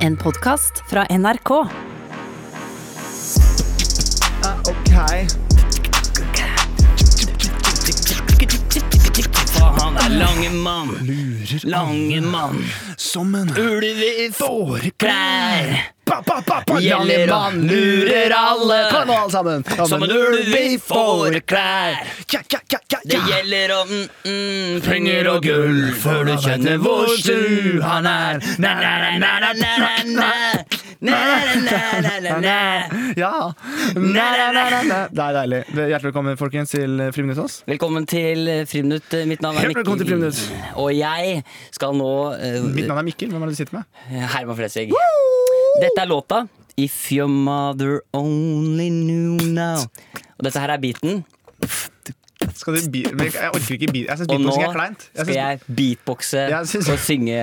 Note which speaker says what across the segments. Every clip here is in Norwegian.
Speaker 1: En podkast fra NRK.
Speaker 2: Ok
Speaker 3: For han er lange mann,
Speaker 2: Lurer
Speaker 3: lange mann.
Speaker 2: Som en
Speaker 3: Ulv i fåreklær.
Speaker 2: pa, pa, pa, pa,
Speaker 3: Gjellemann lurer alle.
Speaker 2: Kom nå alle sammen
Speaker 3: Som en ulv i fåreklær.
Speaker 2: ja, ja, ja, ja,
Speaker 3: Det
Speaker 2: ja.
Speaker 3: gjelder om mm, mm, penger og gull før du kjenner hvor slu han er. Na, na, na, na, na, na, na. Na, na, na, na, na, na.
Speaker 2: ja. Nei, nei, nei, nei, nei. Det er deilig Det er Hjertelig velkommen folkens til eh, Friminutt oss
Speaker 3: Velkommen til eh, Friminutt. Mitt navn er
Speaker 2: Helt
Speaker 3: Mikkel.
Speaker 2: velkommen til Friminutt.
Speaker 3: Og jeg skal nå eh,
Speaker 2: Mitt navn er Mikkel, hvem er det du sitter med?
Speaker 3: Herman Flesvig. Dette er låta If your mother only knew now. Og dette her er beaten.
Speaker 2: Skal du bi men Jeg orker ikke bi Jeg synes
Speaker 3: Og nå
Speaker 2: beatboxing er kleint Jeg
Speaker 3: skal
Speaker 2: synes-
Speaker 3: jeg beatboxe
Speaker 2: Jeg synes-
Speaker 3: og synge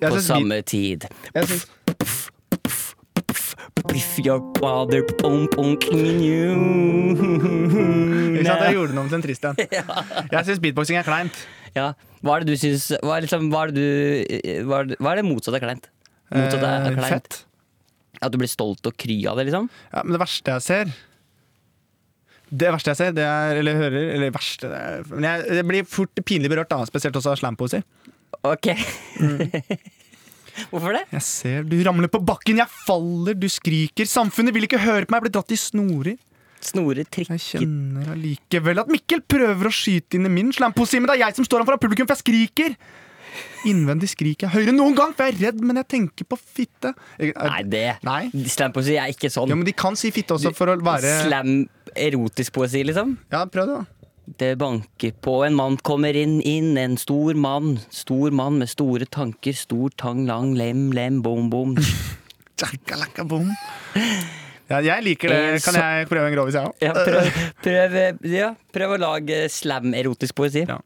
Speaker 3: på
Speaker 2: synes
Speaker 3: samme tid.
Speaker 2: jeg synes-
Speaker 3: If your father pom pom knew
Speaker 2: Ikke sant, jeg gjorde den om til en trist en Jeg synes beatboxing er kleint
Speaker 3: ja. Hva er det du syns Hva er, liksom, hva er det du Hva er det, hva er det motsatte av kleint? Motsatte av
Speaker 2: Eh,
Speaker 3: kleint?
Speaker 2: Fett
Speaker 3: At du blir stolt og kry av det, liksom?
Speaker 2: Ja, men det verste jeg ser Det verste jeg ser, det er, eller hører Eller verste det er, Men jeg, jeg blir fort pinlig berørt, da, spesielt også av slampoesi.
Speaker 3: Ok.
Speaker 2: Mm.
Speaker 3: Hvorfor det?
Speaker 2: Jeg ser du ramler på bakken, jeg faller, du skriker. Samfunnet vil ikke høre på meg, jeg blir dratt i snorer.
Speaker 3: Snore
Speaker 2: Jeg
Speaker 3: trikker
Speaker 2: kjenner allikevel at Mikkel prøver å skyte inn i min slampoesi, men det er jeg som står ham foran publikum, for jeg skriker. Innvendig skriker jeg høyere enn noen gang, for jeg er redd, men jeg tenker på fitte. Jeg,
Speaker 3: Nei, det
Speaker 2: Nei.
Speaker 3: Slampoesi er ikke sånn.
Speaker 2: ja, men de kan si fitte også for å være
Speaker 3: Slam erotisk poesi, liksom.
Speaker 2: Ja, prøv det, da.
Speaker 3: Det banker på, en mann kommer inn, inn, en stor mann. Stor mann med store tanker, stor tang, lang lem, lem, bom, bom.
Speaker 2: Tjakalakabom. Ja, jeg liker
Speaker 3: En
Speaker 2: det. Kan
Speaker 3: så-
Speaker 2: jeg prøve en grovis, jeg òg?
Speaker 3: Ja, prøv, prøv, ja, prøv å lage slam-erotisk poesi.
Speaker 2: Ja.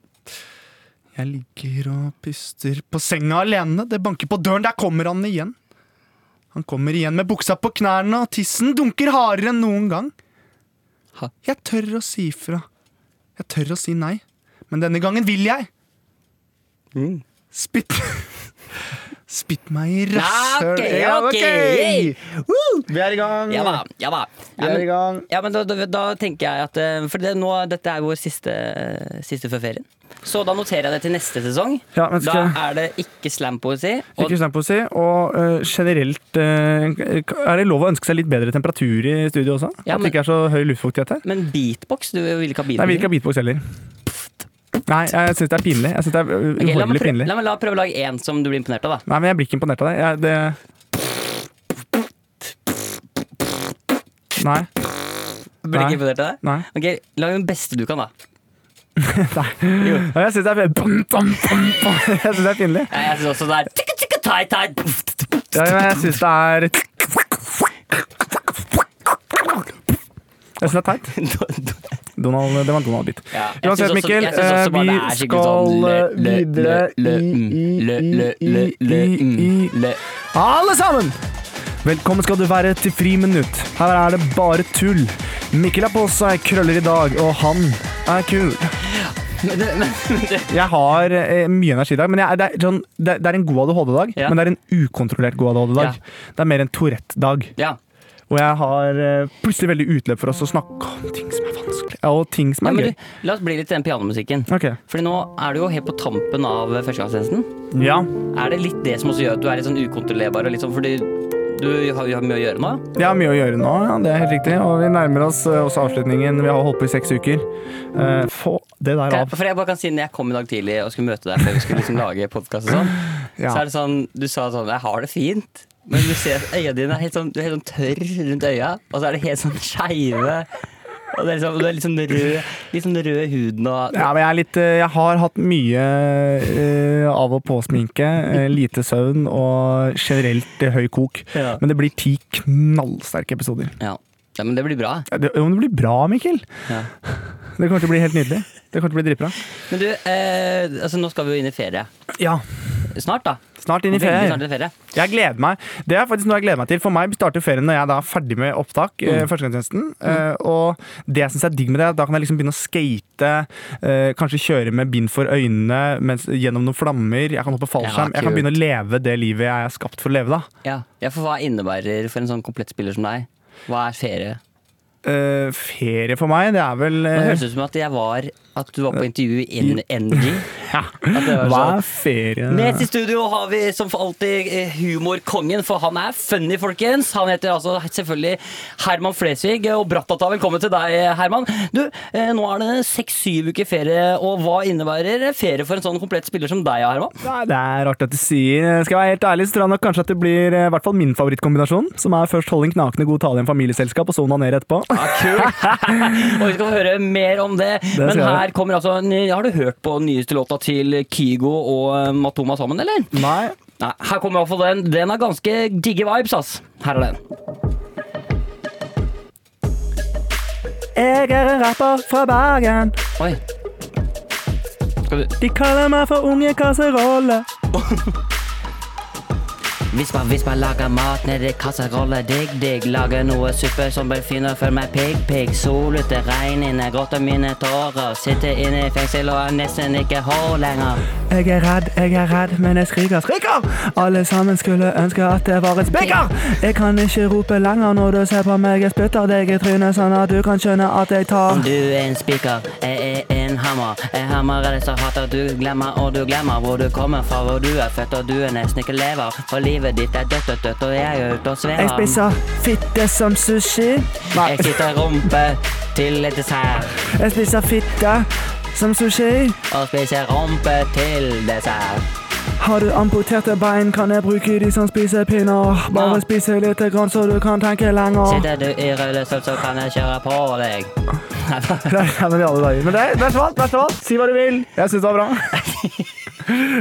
Speaker 2: Jeg ligger og puster på senga alene. Det banker på døren, der kommer han igjen. Han kommer igjen med buksa på knærne, og tissen dunker hardere enn noen gang.
Speaker 3: Ha.
Speaker 2: Jeg tør å si fra. Jeg tør å si nei. Men denne gangen vil jeg.
Speaker 3: Mm.
Speaker 2: Spytt Spytt meg i
Speaker 3: Ja,
Speaker 2: rasshøl.
Speaker 3: ok,
Speaker 2: Ja,
Speaker 3: ok,
Speaker 2: ok.
Speaker 3: yay.
Speaker 2: Vi er i gang.
Speaker 3: Ja da, ja da.
Speaker 2: Vi
Speaker 3: Ja,
Speaker 2: er i
Speaker 3: men,
Speaker 2: gang.
Speaker 3: ja, men da, da, da tenker jeg at eh, For det, nå, dette er vår siste, siste før ferien. Så da noterer jeg det til neste sesong.
Speaker 2: Ja, men
Speaker 3: Da
Speaker 2: skal-
Speaker 3: er det ikke slam-poesi. Og
Speaker 2: Ikke slampoesi. Og øh, generelt, øh, er det lov å ønske seg litt bedre temperatur i studio også?
Speaker 3: Ja,
Speaker 2: At
Speaker 3: men-
Speaker 2: det ikke er så høy luftfuktighet her?
Speaker 3: Men beatbox? Du vil ikke ha beatbox?
Speaker 2: Nei, vi vil ikke ha beatbox heller. Nei, jeg syns det er pinlig. Jeg synes det er øh,
Speaker 3: Ok, la, meg
Speaker 2: uhorvelig
Speaker 3: prøve,
Speaker 2: pinlig.
Speaker 3: la meg la prøve å lage én som du blir imponert av, da.
Speaker 2: Nei, men jeg blir ikke imponert av deg. Jeg, det Nei.
Speaker 3: Blir
Speaker 2: Nei.
Speaker 3: ikke imponert av det?
Speaker 2: Nei.
Speaker 3: Ok, Lag den beste du kan, da.
Speaker 2: Nei, Jeg syns det er bam, bam, bam, bam. Jeg synes det er pinlig.
Speaker 3: Ja, Jeg syns også det er tikka, tikka, tai, tai.
Speaker 2: Ja, men jeg syns det er Jeg syns det er teit. Donald, det var en Donald-bit.
Speaker 3: Ja, jeg
Speaker 2: Uansett,
Speaker 3: synes også-
Speaker 2: Mikkel,
Speaker 3: jeg synes også
Speaker 2: eh,
Speaker 3: bare
Speaker 2: vi
Speaker 3: det er skikkelig
Speaker 2: skal
Speaker 3: sånn lø- lø-
Speaker 2: videre
Speaker 3: lø- lø-
Speaker 2: i-
Speaker 3: mm, lø- lø- lø-
Speaker 2: i-
Speaker 3: lø-
Speaker 2: i-
Speaker 3: mm,
Speaker 2: i-
Speaker 3: lø.
Speaker 2: Alle sammen! Velkommen skal du være til Friminutt. Her er det bare tull. Mikkel har på seg krøller i dag, og han er kul.
Speaker 3: Men det- men-
Speaker 2: Jeg har eh, mye energi i dag, men jeg, er- det, er, sånn, det, er- det er en god ADHD-dag.
Speaker 3: Ja.
Speaker 2: Men det er en ukontrollert god ADHD-dag. Det er mer en Tourette-dag.
Speaker 3: Ja.
Speaker 2: Og jeg har eh, plutselig veldig utløp for oss å snakke om ting som er vanskelig, og ting som
Speaker 3: ja,
Speaker 2: er
Speaker 3: men
Speaker 2: gøy.
Speaker 3: du, la oss bli litt i den pianomusikken.
Speaker 2: Ok.
Speaker 3: Fordi nå er du jo helt på tampen av førstegangstjenesten.
Speaker 2: Ja.
Speaker 3: Er det litt det som også gjør at du er litt sånn ukontrollerbar? Og litt sånn, fordi du har, har mye å gjøre nå?
Speaker 2: Det er mye å gjøre nå, ja, det er helt riktig. Og vi nærmer oss eh, også avslutningen. Vi har holdt på i seks uker. Eh, få det der
Speaker 3: Kan-
Speaker 2: av.
Speaker 3: For jeg bare kan si Når jeg kom i dag tidlig og skulle møte deg før vi skulle liksom lage podkast, sånn,
Speaker 2: Ja.
Speaker 3: så er det sånn Du sa sånn Jeg har det fint. Men du ser at øya dine er helt sånn, du er helt sånn tørr rundt øya, og så er det helt sånn skeive. Og det er liksom, du er litt sånn rød, litt sånn rød i huden og
Speaker 2: Ja, men jeg, er litt, eh, jeg har hatt mye eh, av og på-sminke, eh, lite søvn og generelt eh, høy kok.
Speaker 3: Ja.
Speaker 2: Men det blir ti knallsterke episoder.
Speaker 3: ja. ja, men det blir bra.
Speaker 2: Ja, Det, jo, men det blir bra, Mikkel!
Speaker 3: Ja.
Speaker 2: Det kommer til å bli helt nydelig. Det kommer til å bli dritbra.
Speaker 3: Men du, eh, altså nå skal vi jo inn i ferie.
Speaker 2: Ja.
Speaker 3: snart, da.
Speaker 2: Snart inn i
Speaker 3: Veldig
Speaker 2: ferie.
Speaker 3: snart i ferie.
Speaker 2: Jeg gleder meg. Det er faktisk noe jeg gleder meg til. For meg starter ferien når jeg da er ferdig med opptak. eh,
Speaker 3: Mm.
Speaker 2: Førstegangstjenesten. Eh, og det jeg syns er digg med det, er at da kan jeg liksom begynne å skate. eh, kanskje kjøre med bind for øynene mens, gjennom noen flammer. Jeg kan hoppe fallskjerm.
Speaker 3: Ja,
Speaker 2: jeg kan
Speaker 3: kult.
Speaker 2: begynne å leve det livet jeg er skapt for å leve, da.
Speaker 3: Ja. ja, for hva innebærer for en sånn komplett spiller som deg? Hva er ferie?
Speaker 2: Eh, ferie for meg, det er vel
Speaker 3: Det
Speaker 2: eh,
Speaker 3: høres ut som at jeg var At du var på intervju i N- NG. At det var
Speaker 2: Hva
Speaker 3: sånn
Speaker 2: er ferie?
Speaker 3: Med i studio har vi som for alltid eh, humorkongen, for han er funny, folkens. Han heter altså selvfølgelig Herman Flesvig, og Brattata, velkommen til deg, Herman. Du, eh, nå er det seks-syv uker ferie, og hva innebærer ferie for en sånn komplett spiller som deg, Herman?
Speaker 2: Nei, Det er rart at du sier. Skal jeg være helt ærlig, så tror jeg nok kanskje at det blir eh, i hvert fall min favorittkombinasjon. Som er først holde en knakende god tale i en familieselskap, og så onanere etterpå.
Speaker 3: Og vi skal få høre mer om det.
Speaker 2: skal
Speaker 3: Men
Speaker 2: jeg.
Speaker 3: her kommer altså en- Har du hørt på den nyeste låta til Kygo og eh, Matoma sammen, eller?
Speaker 2: Nei.
Speaker 3: Nei, her kommer i hvert fall den. Den har ganske digge vibes, ass. Her er den.
Speaker 2: Jeg er en rapper fra Bergen.
Speaker 3: Oi. Skal du
Speaker 2: De kaller meg for Unge Kasserolle.
Speaker 3: Hvis man, hvis man lager mat nedi kasserolle, digg, digg. Lager noe suppe som befinner for meg pigg, pigg. Solete, regn inne, gråter mine tårer. Sitter inne i fengsel og er nesten ikke hår lenger.
Speaker 2: Jeg er redd, jeg er redd, men jeg skriker, skriker. Alle sammen skulle ønske at det var et spiker. Jeg kan ikke rope lenger når du ser på meg. Jeg spytter deg i trynet sånn at du kan skjønne at jeg tar
Speaker 3: Om du er en spiker, jeg er en hammer. Jeg hammer er det så hardt at du glemmer, og du glemmer hvor du kommer fra, hvor du er født, og du er nesten ikke lever. For livet ditt er dødt, dødt, dødt, og jeg er ute og svever.
Speaker 2: Jeg spiser fitte som sushi. Nei,
Speaker 3: Jeg sitter rumpe til dessert
Speaker 2: jeg spiser fitte som sushi.
Speaker 3: og spiser rumpe til dessert.
Speaker 2: Har du amputerte bein, kan jeg bruke de som spiser pinner.
Speaker 3: Ja.
Speaker 2: Bare spise litt, grann, så du kan tenke lenger.
Speaker 3: Sitter du i rullestol, så kan jeg kjøre på deg.
Speaker 2: Nei, nei, men i alle dager. Men det, vær så vant, vær så vant. Si hva du vil. Jeg syns det var bra.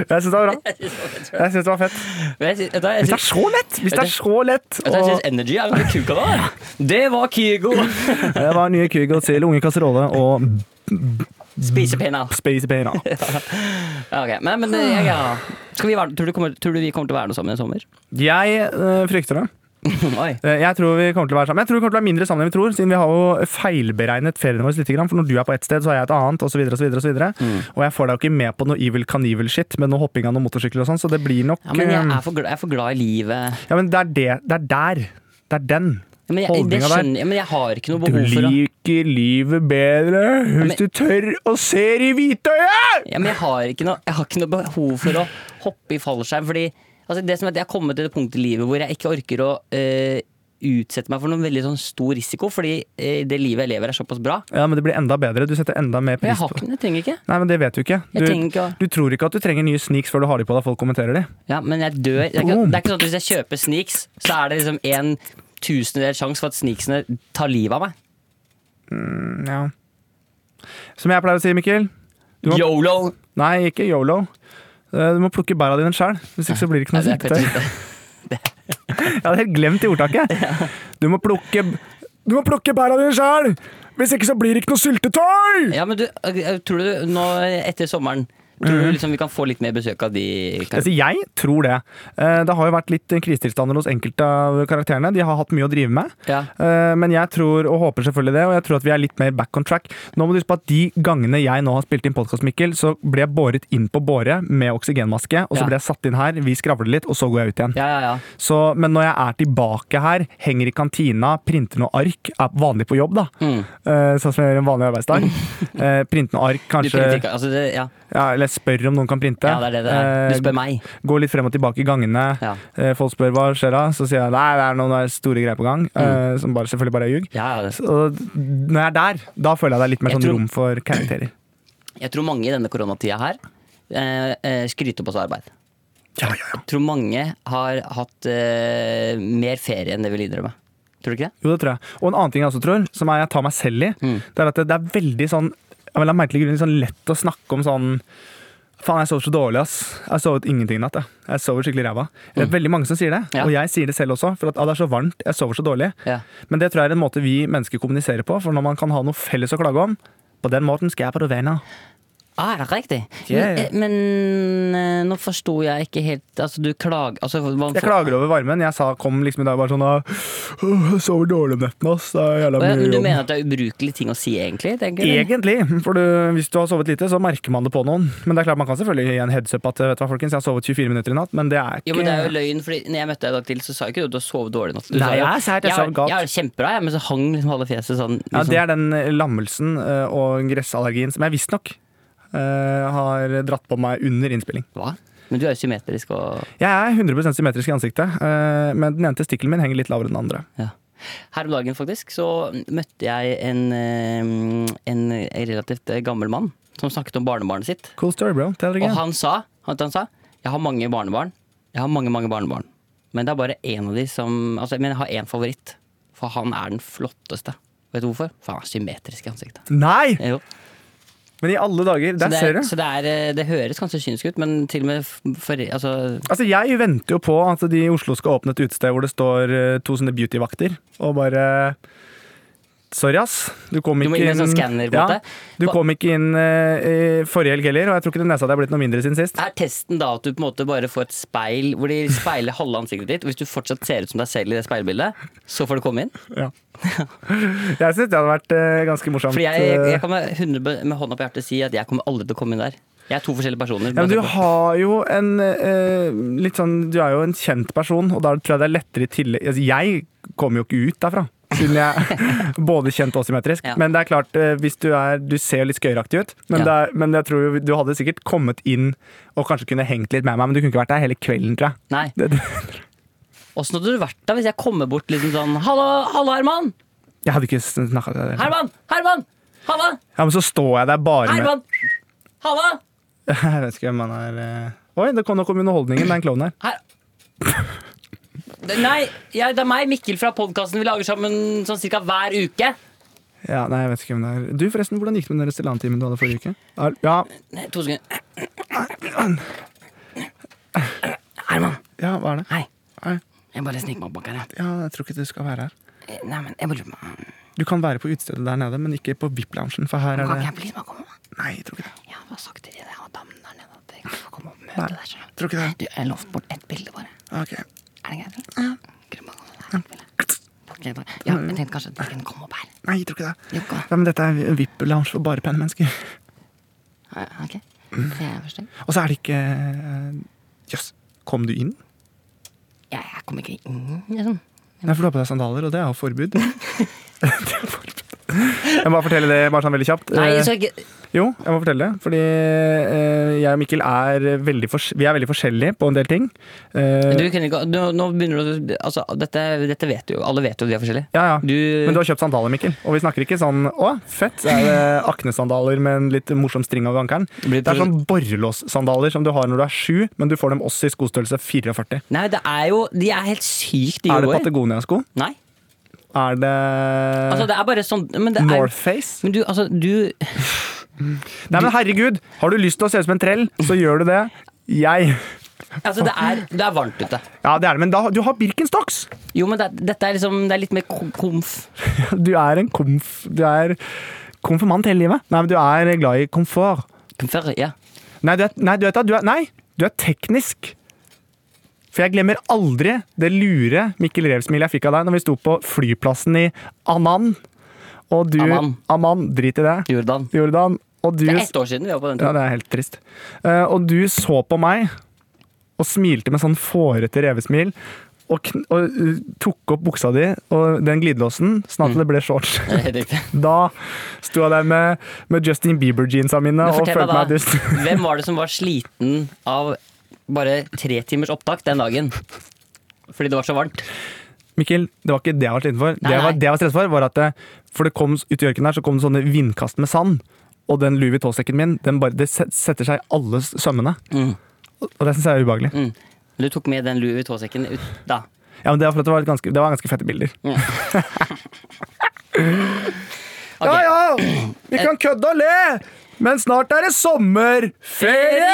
Speaker 2: Jeg syns det var bra. Jeg syns det var fett.
Speaker 3: Jeg sy- vet du hva, jeg
Speaker 2: Hvis det er
Speaker 3: syns-
Speaker 2: så lett! Hvis det er så lett
Speaker 3: vet du hva, jeg syns Energy er ganske kuka da. Det var Kygo.
Speaker 2: Det var nye Kygo til Unge kasserolle og
Speaker 3: Spisepinner.
Speaker 2: Space Pena.
Speaker 3: Ja, ok. Men, men jeg, ja. Skal vi være, tror, du kommer, tror du vi kommer til å være noe sammen i sommer?
Speaker 2: Jeg eh, frykter det.
Speaker 3: Oi.
Speaker 2: Eh, Jeg tror vi kommer til å være sammen Jeg tror vi kommer til å være mindre sammen enn vi tror, siden vi har jo feilberegnet feriene våre litt. For når du er på ett sted, så er jeg et annet, osv. Og, så videre, og, så videre.
Speaker 3: Mm.
Speaker 2: og jeg får deg jo ikke med på noe Evil Canivel-shit med noe hopping av noen motorsykler og sånn, så det blir nok
Speaker 3: Ja, men jeg
Speaker 2: eh,
Speaker 3: er for glad, jeg er for glad i livet.
Speaker 2: Ja, men det er det. Det er der. Det er den.
Speaker 3: Ja, Men jeg, det
Speaker 2: Holdninga der.
Speaker 3: skjønner jeg, men jeg har ikke noe
Speaker 2: Du
Speaker 3: behov for å
Speaker 2: liker livet bedre hvis
Speaker 3: men-
Speaker 2: du tør å se i hvitøyet!
Speaker 3: Ja, men jeg har ikke noe, jeg har ikke noe behov for å hoppe i fallskjerm. Fordi altså, det som er at jeg har kommet til det punktet i livet hvor jeg ikke orker å eh, utsette meg for noen veldig sånn stor risiko, fordi eh, det livet jeg lever, er såpass bra.
Speaker 2: Ja, men det blir enda bedre. Du setter enda mer
Speaker 3: Men
Speaker 2: pris
Speaker 3: jeg har
Speaker 2: på
Speaker 3: ikke den, jeg trenger ikke.
Speaker 2: Nei, men det vet du ikke.
Speaker 3: Jeg trenger
Speaker 2: Du,
Speaker 3: ikke å-
Speaker 2: du tror ikke at du trenger nye sneaks før du har de på deg folk kommenterer de.
Speaker 3: Ja, men jeg dør. Det er ikke, det er ikke sånn at hvis jeg kjøper sneaks, så er det liksom en tusendedel sjanse for at sneaksene tar livet av meg.
Speaker 2: Ja. Som jeg pleier å si, Mikkel. Du må-
Speaker 3: Yolo!
Speaker 2: Nei, ikke yolo. Eh, Du må plukke bæra dine sjøl, hvis ikke så blir det ikke noe
Speaker 3: Nei, det er
Speaker 2: syltetøy. Jeg hadde helt glemt det ordtaket. Du må plukke Du må plukke bæra dine sjøl! Hvis ikke så blir det ikke noe syltetøy!
Speaker 3: Ja, men du, eh, tror du nå etter sommeren Tror du liksom vi kan få litt mer besøk av de?
Speaker 2: Altså, Mm. jeg tror det. Eh, Det har jo vært litt krisetilstander hos enkelte av karakterene. De har hatt mye å drive med.
Speaker 3: Ja.
Speaker 2: Eh, Men jeg tror og håper selvfølgelig det, og jeg tror at vi er litt mer back on track. Nå må du huske på at de gangene jeg nå har spilt inn podkast, Mikkel, så ble jeg båret inn på båre med oksygenmaske, og så
Speaker 3: Ja.
Speaker 2: ble jeg satt inn her, vi skravler litt, og så går jeg ut igjen.
Speaker 3: Ja, ja, ja.
Speaker 2: Så, men når jeg er tilbake her, henger i kantina, printer noe ark, er vanlig på jobb, da.
Speaker 3: Mm.
Speaker 2: Eh, Sånn som jeg gjør en vanlig arbeidsdag. Eh, Printer noe ark,
Speaker 3: Du
Speaker 2: kanskje
Speaker 3: printer ikke altså, det, ja.
Speaker 2: ja, Eller spør om noen kan printe.
Speaker 3: ja, det er det det er. Du
Speaker 2: Eh,
Speaker 3: spør meg.
Speaker 2: Gå litt frem og tilbake i gangene.
Speaker 3: Ja.
Speaker 2: Eh, Folk spør hva skjer da, så sier jeg nei, det er noen der store greier på gang. eh, Som bare, selvfølgelig bare er ljug.
Speaker 3: Ja, ja, det-
Speaker 2: Og når jeg er der, da føler jeg det er litt mer
Speaker 3: Jeg
Speaker 2: sånn
Speaker 3: tror-
Speaker 2: rom for karakterer.
Speaker 3: Jeg tror mange i denne koronatida her eh, eh, skryter på seg arbeid.
Speaker 2: Ja, ja, ja.
Speaker 3: Jeg tror mange har hatt eh, mer ferie enn det vil innrømme. Tror du ikke det?
Speaker 2: Jo, det tror jeg. Og en annen ting jeg også tror, som er jeg tar meg selv i,
Speaker 3: Mm.
Speaker 2: det er at det, det er veldig sånn av en eller annen merkelig grunn sånn lett å snakke om sånn Faen, jeg sover så dårlig, ass. Jeg har sovet ingenting i natt. Jeg, jeg sover skikkelig ræva. Det er veldig mange som sier det,
Speaker 3: Mm. Ja.
Speaker 2: og jeg sier det selv også. For at, ah, det er så varmt, jeg sover så dårlig.
Speaker 3: Ja.
Speaker 2: Men det tror jeg er en måte vi mennesker kommuniserer på, for når man kan ha noe felles å klage om På den måten skal jeg på det venner.
Speaker 3: Ah, er det riktig?
Speaker 2: Ja,
Speaker 3: Men,
Speaker 2: ja.
Speaker 3: eh, Men, eh, nå forsto jeg ikke helt Altså, du klager altså, hva-
Speaker 2: Jeg klager over varmen. Jeg sa, kom liksom i dag bare sånn «Åh, Jeg sover dårlig om netten, ass. Det er jævla
Speaker 3: Å ja,
Speaker 2: mye
Speaker 3: men Du
Speaker 2: jobb.
Speaker 3: mener at det er ubrukelige ting å si, egentlig? tenker du?
Speaker 2: Egentlig, for du, hvis du har sovet lite, så merker man det på noen. Men det er klart man kan selvfølgelig gi en heads up at vet du hva, folkens, jeg har sovet 24 minutter i natt, men det er ikke
Speaker 3: Jo, men det er jo løgn, fordi når jeg møtte deg i dag til, så sa jo ikke du at du har sovet dårlig i natt. Du
Speaker 2: Nei,
Speaker 3: sa jo,
Speaker 2: jeg er sært, jeg
Speaker 3: har-
Speaker 2: sov galt.
Speaker 3: Jeg har det kjempebra, jeg, men så hang liksom halve fjeset sånn. Liksom.
Speaker 2: ja, det er den lammelsen eh, og gressallergien som jeg visstnok eh, har dratt på meg under innspilling.
Speaker 3: Hva? Men du er jo symmetrisk og
Speaker 2: Jeg er 100 symmetrisk i ansiktet, eh, men den ene testikkelen min henger litt lavere enn den andre.
Speaker 3: ja. Her om dagen, faktisk, så møtte jeg en, eh, en relativt eh, gammel mann som snakket om barnebarnet sitt.
Speaker 2: Cool story, bro. Tell it
Speaker 3: Og
Speaker 2: again.
Speaker 3: han sa, han, han sa Jeg har mange barnebarn. Jeg har mange, mange barnebarn. Men det er bare én av de som Altså, men jeg har én favoritt. For han er den flotteste. Vet du hvorfor? For han er symmetrisk i ansiktet.
Speaker 2: Nei!
Speaker 3: Jo.
Speaker 2: Men i alle dager,
Speaker 3: Så,
Speaker 2: der
Speaker 3: det,
Speaker 2: ser
Speaker 3: er,
Speaker 2: du.
Speaker 3: så det, er, eh, det høres kanskje kynisk ut, men til og med f- for, altså,
Speaker 2: Altså, Jeg venter jo på at de i Oslo skal åpne et utested hvor det står eh, to sånne beautyvakter, og bare Sorry, ass. Du kom
Speaker 3: Du
Speaker 2: ikke
Speaker 3: må inn med sånn scanner, på en måte.
Speaker 2: Du
Speaker 3: Hva-
Speaker 2: kom ikke inn eh, i forrige helg heller, og jeg tror ikke den nesa di er blitt noe mindre siden sist.
Speaker 3: Er testen da at du på en måte bare får et speil hvor de speiler halve ansiktet ditt? Og hvis du fortsatt ser ut som deg selv i det speilbildet, så får du komme inn?
Speaker 2: Ja. Jeg syns det hadde vært eh, ganske morsomt.
Speaker 3: Fordi jeg, jeg, jeg kan med, 100 be- med hånda på hjertet si at jeg kommer aldri til å komme inn der. Jeg er to forskjellige personer.
Speaker 2: ja, men du
Speaker 3: basert på-
Speaker 2: har jo en eh, litt sånn Du er jo en kjent person, og da tror jeg det er lettere i tillegg altså, Jeg kommer jo ikke ut derfra, siden jeg er både kjent og symmetrisk.
Speaker 3: Ja.
Speaker 2: Men det er klart, eh, hvis du er Du ser jo litt skøyeraktig ut, men,
Speaker 3: Ja.
Speaker 2: det er, men jeg tror jo du hadde sikkert kommet inn og kanskje kunne hengt litt med meg, men du kunne ikke vært der hele kvelden, tror jeg.
Speaker 3: Nei.
Speaker 2: Det, det,
Speaker 3: Åssen hadde du vært da hvis jeg kommer bort liksom sånn Hallo, hallo Herman!
Speaker 2: jeg hadde ikke snakka til deg.
Speaker 3: Herman! Herman! Halla!
Speaker 2: Ja, men så står jeg der bare med
Speaker 3: Herman! Halla!
Speaker 2: Jeg vet ikke hvem han er eh. Oi, det kom nok om underholdningen, den klovnen her.
Speaker 3: Her... Det- Nei, jeg, det er meg, Mikkel fra podkasten. Vi lager sammen sånn cirka hver uke.
Speaker 2: Ja, nei, jeg vet ikke hvem det er. Du, forresten, hvordan gikk det med den restauranttimen du hadde forrige uke? Er- Ja,
Speaker 3: Nei, To sekunder. Herman,
Speaker 2: ja hva er det?
Speaker 3: hei.
Speaker 2: Nei.
Speaker 3: Jeg bare sniker meg opp bak her. jeg.
Speaker 2: Ja, jeg tror ikke du skal være her.
Speaker 1: Eh,
Speaker 3: Nei, men jeg bare lurer på
Speaker 2: Du kan være på utestedet der nede, men ikke på VIP-loungen, for her er
Speaker 3: Kan ikke
Speaker 2: det
Speaker 3: jeg please bare komme? da?
Speaker 2: Nei, jeg tror ikke det.
Speaker 3: Jeg har bare sagt til de der damene der nede at jeg kan få komme opp og
Speaker 2: Nei,
Speaker 3: møte deg. skjønner du.
Speaker 2: tror ikke det.
Speaker 3: Du, jeg lovte bort ett bilde, bare.
Speaker 2: Ok.
Speaker 3: Er det greit? eller? Grunnen på at han er her, vil jeg. Ok, da. Ja, jeg tenkte kanskje at dere kunne komme opp her.
Speaker 2: Nei, jeg tror ikke det.
Speaker 3: Jo, hva?
Speaker 2: Ja, men dette er VIP-lounge for bare pennemennesker.
Speaker 3: Ja, Ok, jeg forstår.
Speaker 2: Og så er det ikke eh, Jøss, kom du inn?
Speaker 3: Ja, jeg kommer ikke inn, liksom.
Speaker 2: Nei, for du har på deg sandaler, og det er jo forbud. det er forbud. Jeg må bare fortelle det bare sånn veldig kjapt.
Speaker 3: Nei,
Speaker 2: Eh,
Speaker 3: så ikke...
Speaker 2: Jo, jeg må fortelle det. Fordi eh, jeg og Mikkel er veldig, fors vi er veldig forskjellige på en del ting. Eh,
Speaker 3: Du kunne ikke... Nå, nå begynner du... Altså, dette, dette vet du jo. Alle vet jo at vi er forskjellige.
Speaker 2: ja, ja.
Speaker 3: Du-
Speaker 2: Men du har kjøpt sandaler, Mikkel. Og vi snakker ikke sånn 'å, fett', så er det aknesandaler med en litt morsom string over ankelen.
Speaker 3: Blir det-
Speaker 2: Det er sånn borrelåssandaler som du har når du er sju, men du får dem også i skostørrelse 44.
Speaker 3: Nei, det er jo... De er helt sykt, de
Speaker 2: Er det
Speaker 3: går.
Speaker 2: Patagonia-sko?
Speaker 3: Nei.
Speaker 2: Er det,
Speaker 3: Altså, det er bare sånn... Men det er...
Speaker 2: Northface?
Speaker 3: Men du, altså, du...
Speaker 2: Nei, men herregud! Har du lyst til å se ut som en trell, så gjør du det. Jeg.
Speaker 3: Altså, det er, det er varmt ute.
Speaker 2: Ja, det er det, men da, du har Birkenstocks!
Speaker 3: Jo, men det, er- dette er liksom... Det er litt mer kom- komf.
Speaker 2: Du er en komf... Du er konfirmant hele livet. Nei, men du er glad i komfort.
Speaker 3: Komfer, ja.
Speaker 2: Nei, du er, nei, du vet da, du er, nei, du er teknisk. For jeg glemmer aldri det lure Mikkel Rev-smilet jeg fikk av deg når vi sto på flyplassen i Amman. Og du
Speaker 3: Amman.
Speaker 2: Amman, drit i det.
Speaker 3: Jordan.
Speaker 2: Jordan. Og du
Speaker 3: Det er ett år siden vi var på
Speaker 2: Ja,
Speaker 3: den turen.
Speaker 2: det er helt trist. Eh, og du så på meg og smilte med sånn fårete revesmil. Og, kn og uh, tok opp buksa di og den glidelåsen, sånn at
Speaker 3: Mm.
Speaker 2: det ble shorts.
Speaker 3: Det er helt riktig.
Speaker 2: Da sto jeg der med, med Justin Bieber-jeansa mine
Speaker 3: Men
Speaker 2: og
Speaker 3: fortell
Speaker 2: følte meg
Speaker 3: meg
Speaker 2: dust.
Speaker 3: da, hvem var det som var sliten av bare tre timers opptak den dagen? Fordi det var så varmt.
Speaker 2: Mikkel, det var ikke det jeg var sliten for.
Speaker 3: Nei,
Speaker 2: det, jeg var,
Speaker 3: nei.
Speaker 2: det jeg var stresset for, var at det, for det kom, ut i ørkenen her så kom det sånne vindkast med sand. Og den Louis Vuitton-sekken min, den bare, det set- setter seg i alle s- sømmene. Og og det syns jeg er ubehagelig.
Speaker 3: Mm. Du tok med den Louis Vuitton-sekken ut da.
Speaker 2: Ja, men Det var for at det var, et ganske, det var ganske fette bilder.
Speaker 3: Ok. Eh.
Speaker 2: ja! Vi kan kødde og le! Men snart er det sommerferie!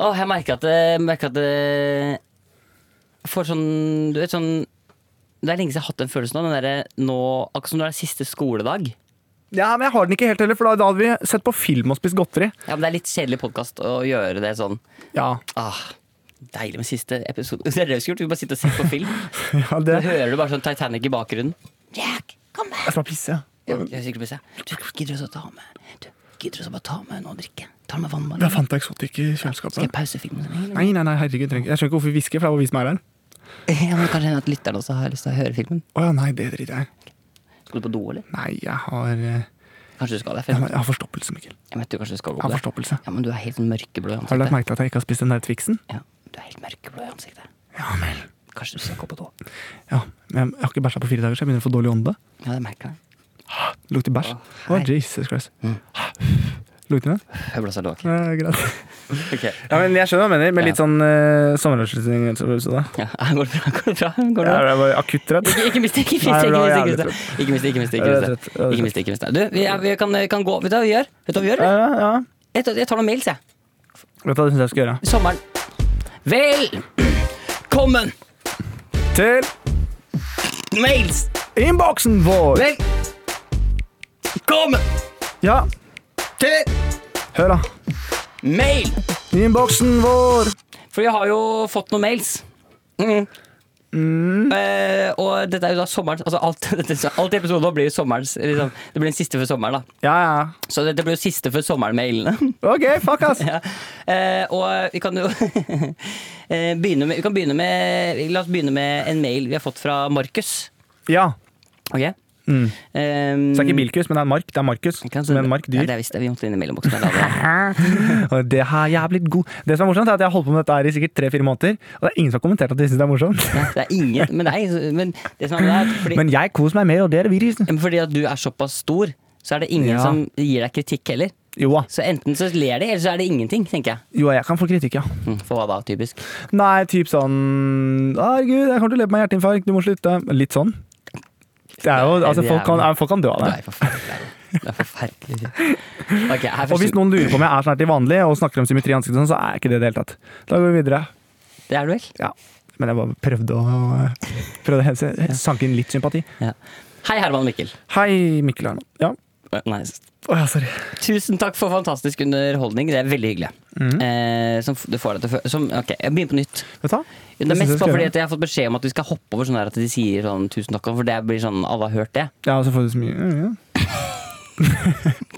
Speaker 3: Åh, jeg merker at, jeg merker at eh, får sånn Du vet sånn Det er lenge siden jeg har hatt den følelsen av den derre nå Akkurat som når det er siste skoledag.
Speaker 2: Ja, men jeg har den ikke helt heller, for da, da hadde vi sett på film og spist godteri.
Speaker 3: Ja, men Det er litt kjedelig podkast å gjøre det sånn.
Speaker 2: Ja,
Speaker 3: Ah, deilig med siste episode. Det er det vi skulle gjort. Vi bare sitter og ser på film.
Speaker 2: ja
Speaker 3: Da
Speaker 2: det
Speaker 3: hører du bare sånn Titanic i bakgrunnen. Jack, kom her!
Speaker 2: Jeg skal bare pisse.
Speaker 3: Ja, jeg er sikkert best, jeg. Du gidder du også å ta med Du gidder du også bare ta med noe å drikke? Ta med vann,
Speaker 2: Det
Speaker 3: bare.
Speaker 2: er Fanta Exotic i
Speaker 3: Skal jeg
Speaker 2: kjøleskapet.
Speaker 3: pause filmen? så lenge, eller?
Speaker 2: Nei, nei, nei, herregud. trenger ikke- Jeg skjønner ikke hvorfor vi hvisker, for det er bare vi som er her.
Speaker 3: Ja, men Kanskje hende at lytterne også har lyst til å høre filmen?
Speaker 2: Å ja, nei, det driter jeg i.
Speaker 3: Skal du på do, eller?
Speaker 2: Nei, jeg har, eh,
Speaker 3: Kanskje du skal det?
Speaker 2: jeg
Speaker 3: For
Speaker 2: har jeg har forstoppelse, Mikkel. Jeg
Speaker 3: jeg vet du kanskje du skal gå
Speaker 2: har
Speaker 3: på det.
Speaker 2: forstoppelse.
Speaker 3: Ja, men du er helt mørkeblå i
Speaker 2: Har du lagt
Speaker 3: ansiktet.
Speaker 2: merke til at jeg ikke har spist den der Twixen?
Speaker 3: Ja, du er helt mørkeblå i ansiktet.
Speaker 2: Ja, men.
Speaker 3: Kanskje du skal gå på do.
Speaker 2: Ja, men jeg har ikke bæsja på fire dager, så jeg begynner å få dårlig ånde.
Speaker 3: Ja, det merker jeg.
Speaker 2: Det Lukter bæsj.
Speaker 3: Å,
Speaker 2: Å,
Speaker 3: hei.
Speaker 2: Jesus Christ. Lukter den?
Speaker 3: Jeg blåser låg.
Speaker 2: Ja, greit.
Speaker 3: Okay.
Speaker 2: Ja, men jeg skjønner hva du mener, med
Speaker 3: Ja.
Speaker 2: litt sånn uh, sommeravslutningsøvelse. da.
Speaker 3: Ja, går det bra? Går det bra? Går det
Speaker 2: Ja,
Speaker 3: bra?
Speaker 2: det var akutt trøtt.
Speaker 3: Ikke, ikke mist det, ikke mist
Speaker 2: Nei, det
Speaker 3: det, ikke
Speaker 2: var
Speaker 3: mist
Speaker 2: jævlig
Speaker 3: det, ikke mist det. Ikke mist det, ikke
Speaker 2: Ja,
Speaker 3: mist
Speaker 2: det er
Speaker 3: det.
Speaker 2: trøtt. Ja, det er
Speaker 3: Ikke mist det, ikke mist det. Du, vi, er, vi kan, kan gå. Vet du hva vi gjør? Vet du hva vi gjør?
Speaker 2: Ja,
Speaker 3: eller?
Speaker 2: ja, ja.
Speaker 3: Jeg, tar- jeg tar noen mails, jeg.
Speaker 2: Vet du hva du syns jeg skal gjøre?
Speaker 3: Sommeren. Velkommen!
Speaker 2: Til
Speaker 3: Mails!
Speaker 2: innboksen vår!
Speaker 3: Velkommen
Speaker 2: Ja,
Speaker 3: til
Speaker 2: hør da.
Speaker 3: mail!
Speaker 2: Innboksen vår!
Speaker 3: For vi har jo fått noen mails. Mm.
Speaker 2: Mm.
Speaker 3: Eh, og dette er jo da sommerens altså Alt, dette- alt i episoden nå blir jo sommerens liksom, Det blir den siste før sommeren, da.
Speaker 2: Ja, ja.
Speaker 3: Så dette blir jo siste før sommeren-mailene.
Speaker 2: Ok, fuck ass.
Speaker 3: Ja. Eh, og vi kan jo eh, begynne med, vi kan begynne med La oss begynne med en mail vi har fått fra Markus.
Speaker 2: Ja.
Speaker 3: Ok?
Speaker 2: Mm.
Speaker 3: Ehm,
Speaker 2: Så det er ikke Bilkus, men det er Mark. Det er Markus.
Speaker 3: kan
Speaker 2: Som
Speaker 3: sende-
Speaker 2: en Mark
Speaker 3: Ja,
Speaker 2: dyr.
Speaker 3: det er visst det. Vi måtte inn i mailboksen. der, da.
Speaker 2: Og det har jeg blitt god Det som er morsomt, er at jeg har holdt på med dette her i sikkert tre-fire måneder, og det er ingen som har kommentert at de syns det er morsomt.
Speaker 3: Nei, Det er ingen Men, det er, men det som er med det, er fordi,
Speaker 2: Men jeg koser meg med, og det er virusen.
Speaker 3: men fordi at du er såpass stor, så er det ingen
Speaker 2: Ja.
Speaker 3: som gir deg kritikk heller.
Speaker 2: Jo da.
Speaker 3: Så enten så ler de, eller så er det ingenting, tenker jeg.
Speaker 2: Jo, jeg kan få kritikk, ja.
Speaker 3: Mm, For hva da, typisk?
Speaker 2: Nei, typ sånn Herregud, jeg kommer til å leve med hjerteinfarkt, du må slutte. Litt sånn. Det er jo, altså,
Speaker 3: Det er
Speaker 2: folk, kan,
Speaker 3: jo-
Speaker 2: ja, folk kan dø av
Speaker 3: Du
Speaker 2: det.
Speaker 3: er forferdelig. Du er forferdelig. Ok, her
Speaker 2: Og hvis
Speaker 3: første,
Speaker 2: noen lurer på om jeg er sånn her til vanlig og snakker om symmetri i ansiktet, og sånn, så er jeg ikke det i det hele tatt. Da går vi videre.
Speaker 3: det er du vel?
Speaker 2: Ja. Men jeg bare prøvde å, eh, prøvde å hense, sanke inn litt sympati.
Speaker 3: Ja. Hei, Herman og Mikkel.
Speaker 2: Hei, Mikkel Herman. Ja.
Speaker 3: Eh, Nei,
Speaker 2: Å ja, sorry.
Speaker 3: Tusen takk for fantastisk underholdning. Det er veldig hyggelig.
Speaker 2: Mhm.
Speaker 3: Eh, som f- du får deg til å fø- som, Ok, jeg begynner på nytt.
Speaker 2: Vet du hva?
Speaker 3: Det er
Speaker 2: synes
Speaker 3: mest
Speaker 2: jeg skal
Speaker 3: bare fordi
Speaker 2: gjøre.
Speaker 3: at jeg har fått beskjed om at vi skal hoppe over sånn der at de sier sånn tusen takk, for det blir sånn alle har hørt det.
Speaker 2: Ja, og så får du så mye ja, ja.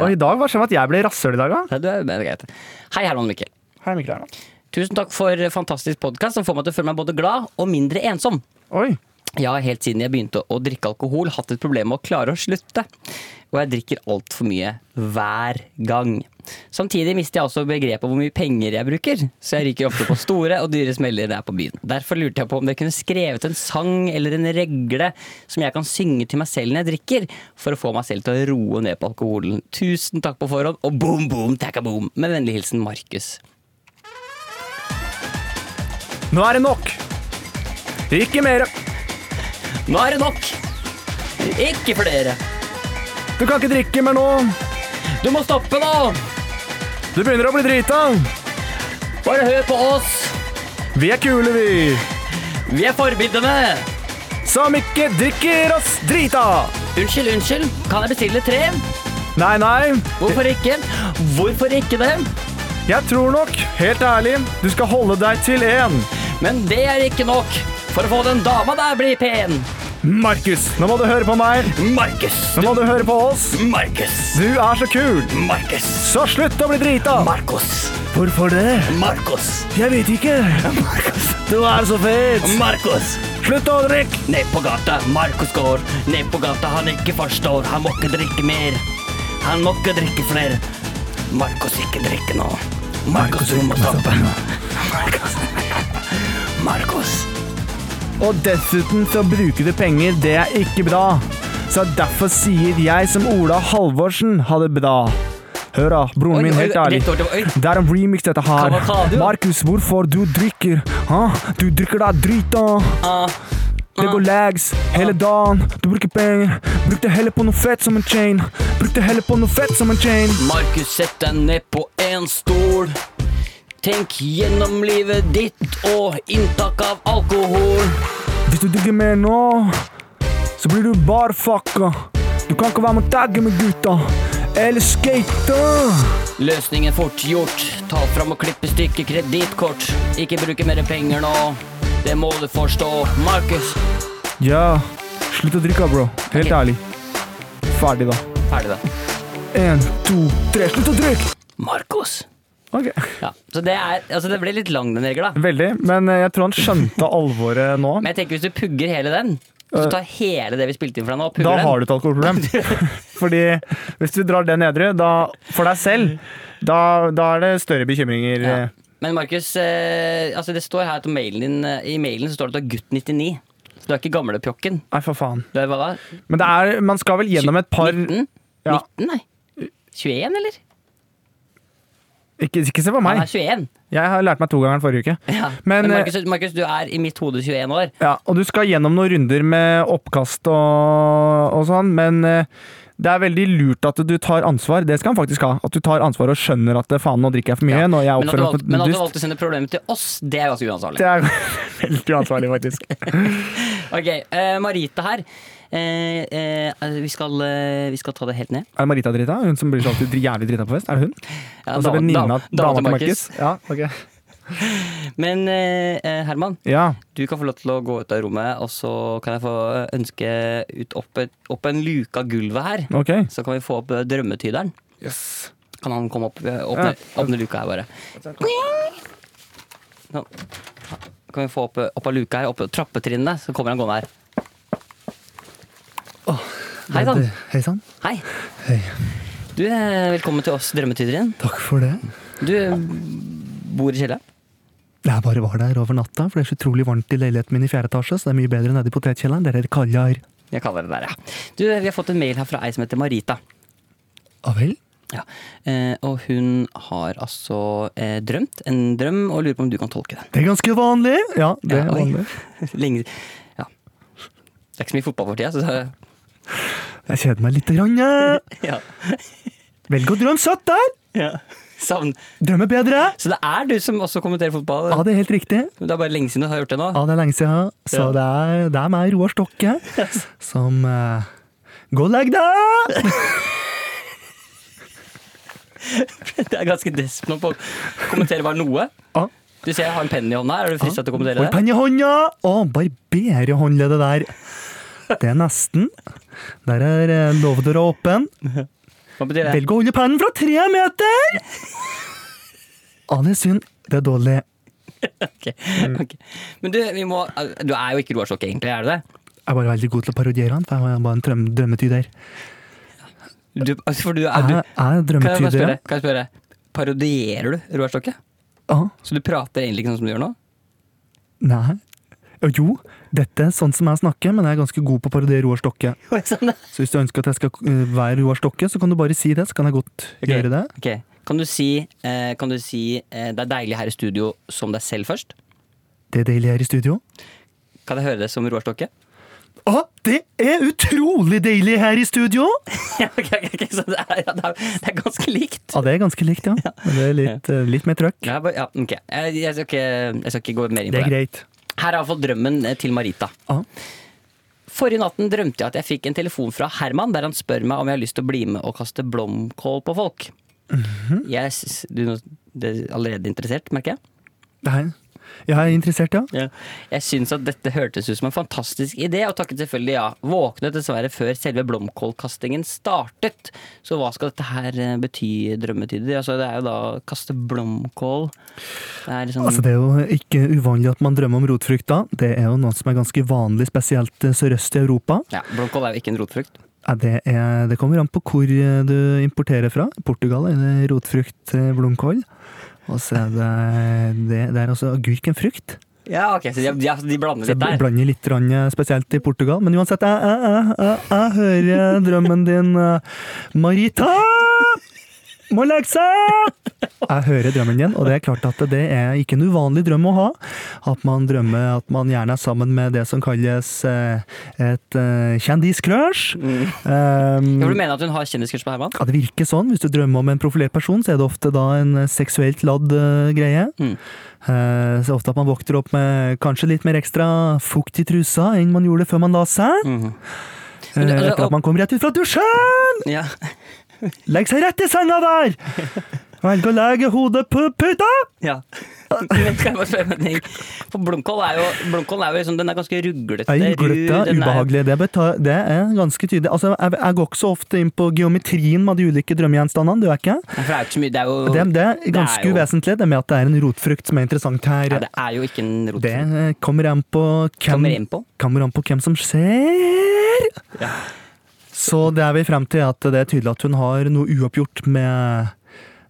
Speaker 2: Og i dag var det sånn at jeg ble rasshøl i dag, da.
Speaker 3: Nei, du er, det er greit. Hei, Herman og Mikkel.
Speaker 2: Hei, Mikkel Herman.
Speaker 3: Tusen takk for fantastisk podkast som får meg til å føle meg både glad og mindre ensom.
Speaker 2: Oi.
Speaker 3: Jeg har helt siden jeg begynte å drikke alkohol, hatt et problem med å klare å slutte. Og jeg drikker altfor mye hver gang. Samtidig mister jeg også begrepet om hvor mye penger jeg bruker, så jeg ryker ofte på store og dyre smeller når jeg er på byen. Derfor lurte jeg på om dere kunne skrevet en sang eller en regle som jeg kan synge til meg selv når jeg drikker, for å få meg selv til å roe ned på alkoholen. Tusen takk på forhånd, og boom, boom, takka boom! Med vennlig hilsen Markus.
Speaker 2: Nå er det nok! Ikke mer.
Speaker 3: Nå er det nok! Ikke flere!
Speaker 2: Du kan ikke drikke mer nå.
Speaker 3: Du må stoppe nå!
Speaker 2: Du begynner å bli drita.
Speaker 3: Bare hør på oss!
Speaker 2: Vi er kule, vi.
Speaker 3: Vi er forbildene!
Speaker 2: Som ikke drikker oss drita.
Speaker 3: Unnskyld, unnskyld. Kan jeg bestille tre?
Speaker 2: Nei, nei.
Speaker 3: Hvorfor ikke? Hvorfor ikke det?
Speaker 2: Jeg tror nok, helt ærlig, du skal holde deg til én.
Speaker 3: Men det er ikke nok for å få den dama der bli pen.
Speaker 2: Markus, nå må du høre på meg.
Speaker 3: Markus.
Speaker 2: Nå må du høre på oss.
Speaker 3: Markus.
Speaker 2: Du er så kul.
Speaker 3: Markus.
Speaker 2: Så slutt å bli drita.
Speaker 3: Markus.
Speaker 2: Hvorfor det?
Speaker 3: Markus.
Speaker 2: Jeg vet ikke. Du er så fet.
Speaker 3: Markus.
Speaker 2: Slutt å drikke.
Speaker 3: Ned på gata, Markus går. Ned på gata han ikke forstår. Han må ikke drikke mer. Han må ikke drikke flere. Markus, ikke drikke nå. Markus, du må stoppe. Markus. Markus.
Speaker 2: Og dessuten så bruker du penger, det er ikke bra. Så derfor sier jeg som Ola Halvorsen ha det bra. Hør da, broren min, helt ærlig.
Speaker 3: Rett over til, oi.
Speaker 2: Det er en remix dette her.
Speaker 3: Kavalkade, jo.
Speaker 2: Markus, hvorfor du drikker? Hæ? Du drikker deg drita.
Speaker 3: Ah.
Speaker 2: Det går lags hele dagen. Du bruker penger. Bruk det heller på noe fett som en chain. Bruk det heller på noe fett som en chain.
Speaker 3: Markus, sett deg ned på en stol. Tenk gjennom livet ditt og inntak av alkohol.
Speaker 2: Hvis du digger mer nå, så blir du bare fucka. Du kan ikke være med å tagge med gutta. Eller skate.
Speaker 3: Løsningen fort gjort. Ta fram og klipp i stykker kredittkort. Ikke bruke mer penger nå. Det må du forstå, Markus.
Speaker 2: Ja, slutt å drikke, bro. Helt
Speaker 3: Ok.
Speaker 2: ærlig. Ferdig, da.
Speaker 3: Ferdig, da.
Speaker 2: Én, to, tre. Slutt å drikke!
Speaker 3: Markus.
Speaker 2: Ok.
Speaker 3: Ja, så det, er, altså det ble litt lang, den regla.
Speaker 2: Veldig, men eh, jeg tror han skjønte alvoret nå.
Speaker 3: Men jeg tenker hvis du pugger hele den, så tar hele det vi spilte inn for deg nå, og
Speaker 2: Da
Speaker 3: pugger
Speaker 2: har
Speaker 3: den.
Speaker 2: du et alkoholproblem. Fordi hvis du drar det nedre, da for deg selv, da, da er det større bekymringer.
Speaker 3: Ja.
Speaker 2: eh.
Speaker 3: Men Markus, eh, altså det står her at mailen din, eh, i mailen så står det at du er gutt 99. Så du er ikke gamlepjokken.
Speaker 2: Nei, for faen.
Speaker 3: Du er hva da?
Speaker 2: Men det er, man skal vel gjennom et par
Speaker 3: 19?
Speaker 2: Ja.
Speaker 3: 19, nei. 21, eller?
Speaker 2: Ikke, ikke se på
Speaker 3: Han
Speaker 2: meg.
Speaker 3: er 21.
Speaker 2: Jeg har lært meg to ganger forrige uke.
Speaker 3: Ja.
Speaker 2: Men, eh,
Speaker 3: Men, Markus, Markus, du er i mitt hode 21 år.
Speaker 2: Ja, og du skal gjennom noen runder med oppkast og, og sånn, men eh, det er veldig lurt at du tar ansvar. Det skal han faktisk ha. At du tar ansvar og skjønner at eh, faen, nå drikker jeg for mye. Når jeg
Speaker 3: Men at, du
Speaker 2: oppfører meg
Speaker 3: valgte, men
Speaker 2: på
Speaker 3: at du
Speaker 2: dust.
Speaker 3: valgte å sende problemet til oss, det er ganske uansvarlig.
Speaker 2: Det er veldig uansvarlig, faktisk.
Speaker 3: Ok, eh, Marita her. Eh, eh, altså, vi, skal, eh, vi skal ta det helt ned.
Speaker 2: Er det Marita drita? Hun som blir så alltid dri- jævlig drita på fest? Er det hun?
Speaker 3: Ja,
Speaker 2: Og så
Speaker 3: dama-
Speaker 2: venninna
Speaker 3: dam-
Speaker 2: dama til Markus? Ja, ok.
Speaker 3: Men eh, eh, Herman,
Speaker 2: Ja,
Speaker 3: du kan få lov til å gå ut av rommet, og så kan jeg få ønske ut opp, et, opp en luke av gulvet her.
Speaker 2: ok.
Speaker 3: Så kan vi få opp eh, drømmetyderen.
Speaker 2: Yes.
Speaker 3: Kan han komme opp? eh, Åpne, åpne luka her, bare. Sånn. Kan vi få opp, eh, opp av luka her, opp trappetrinnene, så kommer han gående her. Hei sann.
Speaker 2: Hei sann.
Speaker 3: Hei. Du, eh, velkommen til oss drømmetyderen.
Speaker 2: Takk for det.
Speaker 3: Du eh, bor i kjelleren.
Speaker 2: Jeg bare var der over natta, for det er så utrolig varmt i leiligheten min i fjerde etasje, så det er mye bedre nede i potetkjelleren. Dere er kalde her.
Speaker 3: Jeg kaller det der, ja. Du, eh, vi har fått en mail her fra ei som heter Marita.
Speaker 2: Ja vel?
Speaker 3: Ja. Eh, og hun har altså eh, drømt en drøm, og lurer på om du kan tolke den.
Speaker 2: Det er ganske vanlig. Ja, det
Speaker 3: Ja,
Speaker 2: er
Speaker 3: oi.
Speaker 2: vanlig.
Speaker 3: Lenge Ja. Det er ikke så mye fotball for tida, så
Speaker 2: Jeg kjeder meg lite grann. jeg.
Speaker 3: ja.
Speaker 2: Velg å drømme søtt der!
Speaker 3: ja. Savn.
Speaker 2: Drømme bedre!
Speaker 3: Så det er du som også kommenterer fotball?
Speaker 2: Ja, det er helt riktig.
Speaker 3: Det er bare lenge siden du har gjort det nå.
Speaker 2: Ja, det er lenge siden. Så
Speaker 3: Ja.
Speaker 2: det, er, det er meg, Roar Stokke, som eh, Gå og legg deg!
Speaker 3: Det er ganske desp nå på å kommentere bare noe.
Speaker 2: Ja.
Speaker 3: Du ser jeg har en penn i hånda. her. Er du frista til å kommentere
Speaker 2: Og
Speaker 3: det?
Speaker 2: penn i hånda! Å, barberhåndleddet der. Det er nesten. Der er eh, låvedøra åpen.
Speaker 3: Hva betyr det?
Speaker 2: Velg å holde pennen fra tre meter! Ja, det er synd. Det er dårlig.
Speaker 3: Ok, ok. Men du, vi må Du er jo ikke Roar Stokke, egentlig, er du det?
Speaker 2: Jeg er bare veldig god til å parodiere han, for jeg er bare en drøm drømmetyder.
Speaker 3: Du, altså, for du er du,
Speaker 2: Jeg er
Speaker 3: Kan jeg bare
Speaker 2: drømmetyder,
Speaker 3: spørre? Kan jeg spørre? Parodierer du Roar Stokke?
Speaker 2: ja.
Speaker 3: Så du prater egentlig ikke sånn som du gjør nå?
Speaker 2: Ah, Nei. Og Jo, dette er sånn som jeg snakker, men jeg er ganske god på å parodiere Roar Stokke.
Speaker 3: Sånn,
Speaker 2: Så hvis du ønsker at jeg skal eh, være Roar Stokke, så kan du bare si det, så kan jeg godt gjøre det.
Speaker 3: Ok. Kan du si, eh, kan du si eh, 'det er deilig her i studio' som deg selv først?
Speaker 2: Det er deilig her i studio.
Speaker 3: Kan jeg høre det som Roar Stokke?
Speaker 2: Å, det er utrolig deilig her i studio!
Speaker 3: Ja, ok, ok, ok, så det er, ja, det er, det er ganske likt.
Speaker 2: Ja, Ah, det er ganske likt, ja. Men det er litt, eh, litt mer trøkk.
Speaker 3: Ja, bare- ja, ok. Jeg, jeg, skal ikke, jeg skal ikke gå mer inn
Speaker 2: Det
Speaker 3: på
Speaker 2: er
Speaker 3: det.
Speaker 2: greit. Ah,
Speaker 3: Her er iallfall drømmen eh, til Marita.
Speaker 2: Ja.
Speaker 3: Forrige natten drømte jeg at jeg fikk en telefon fra Herman der han spør meg om jeg har lyst til å bli med og kaste blomkål på folk.
Speaker 2: Mhm.
Speaker 3: Jeg s- du, nå- det er allerede interessert, merker jeg.
Speaker 2: Nei. Jeg er interessert, ja.
Speaker 3: Jeg syns at dette hørtes ut som en fantastisk idé, og takket selvfølgelig ja. Våknet dessverre før selve blomkålkastingen startet. Så hva skal dette her eh, bety, drømmetyder? Altså, det er jo da å kaste blomkål Det er liksom
Speaker 2: Altså, det er jo ikke uvanlig at man drømmer om rotfrukt da. Det er jo noe som er ganske vanlig, spesielt eh, sørøst i Europa.
Speaker 3: ja, Blomkål er jo ikke en rotfrukt.
Speaker 2: Ja, det, er, det kommer an på hvor eh, du importerer fra. Portugal er det rotfrukt eh, blomkål. Og så er det, det, det er også agurk en frukt.
Speaker 3: Ja, ok, så de, de, de blander
Speaker 2: Så jeg
Speaker 3: litt der.
Speaker 2: blander litt rann, eh, spesielt i Portugal. Men uansett, jeg, jeg, jeg, jeg, jeg hører drømmen din, eh, Marita! eh, Må legge seg! Jeg hører drømmen igjen, og det er klart at det er ikke en uvanlig drøm å ha. At man drømmer at man gjerne er sammen med det som kalles eh, et eh, kjendiscrush.
Speaker 3: Mm.
Speaker 2: Eh,
Speaker 3: Ja, for
Speaker 2: Um,
Speaker 3: Du mener at hun har kjendiskurs på Herman?
Speaker 2: ja, det virker sånn. Hvis du drømmer om en profilert person, så er det ofte da en eh, seksuelt ladd eh, greie.
Speaker 3: Mm.
Speaker 2: Eh, så ofte at man våkner opp med kanskje litt mer ekstra fukt i trusa enn man gjorde før man la seg.
Speaker 3: Mhm.
Speaker 2: Eh,
Speaker 3: Men det-
Speaker 2: etter at man kom rett ut fra dusjen!
Speaker 3: Ja.
Speaker 2: Legg seg rett i senga der! Velg å legge hodet på puta!
Speaker 3: ja. Men skal jeg bare spørre om en ting? For Blomkål er jo, Blomkål er jo liksom, den er ganske ruglete.
Speaker 2: Jeg er gløtta,
Speaker 3: ru, den er-
Speaker 2: ubehagelig. Det, beta- det er ganske tydelig. Altså, jeg, jeg går ikke så ofte inn på geometrien med de ulike drømmegjenstandene. Det er, ikke.
Speaker 3: Nei, For det er jo ikke så mye, det er jo
Speaker 2: Det, det er ganske
Speaker 3: Det er jo-
Speaker 2: uvesentlig, det med at det er en rotfrukt som er interessant her.
Speaker 3: Ja, det er jo ikke en rot.
Speaker 2: det eh, kommer an på hvem,
Speaker 3: Kommer inn på.
Speaker 2: kommer an på hvem som ser.
Speaker 3: Ja.
Speaker 2: Så det er vi frem til at det er tydelig at hun har noe uoppgjort med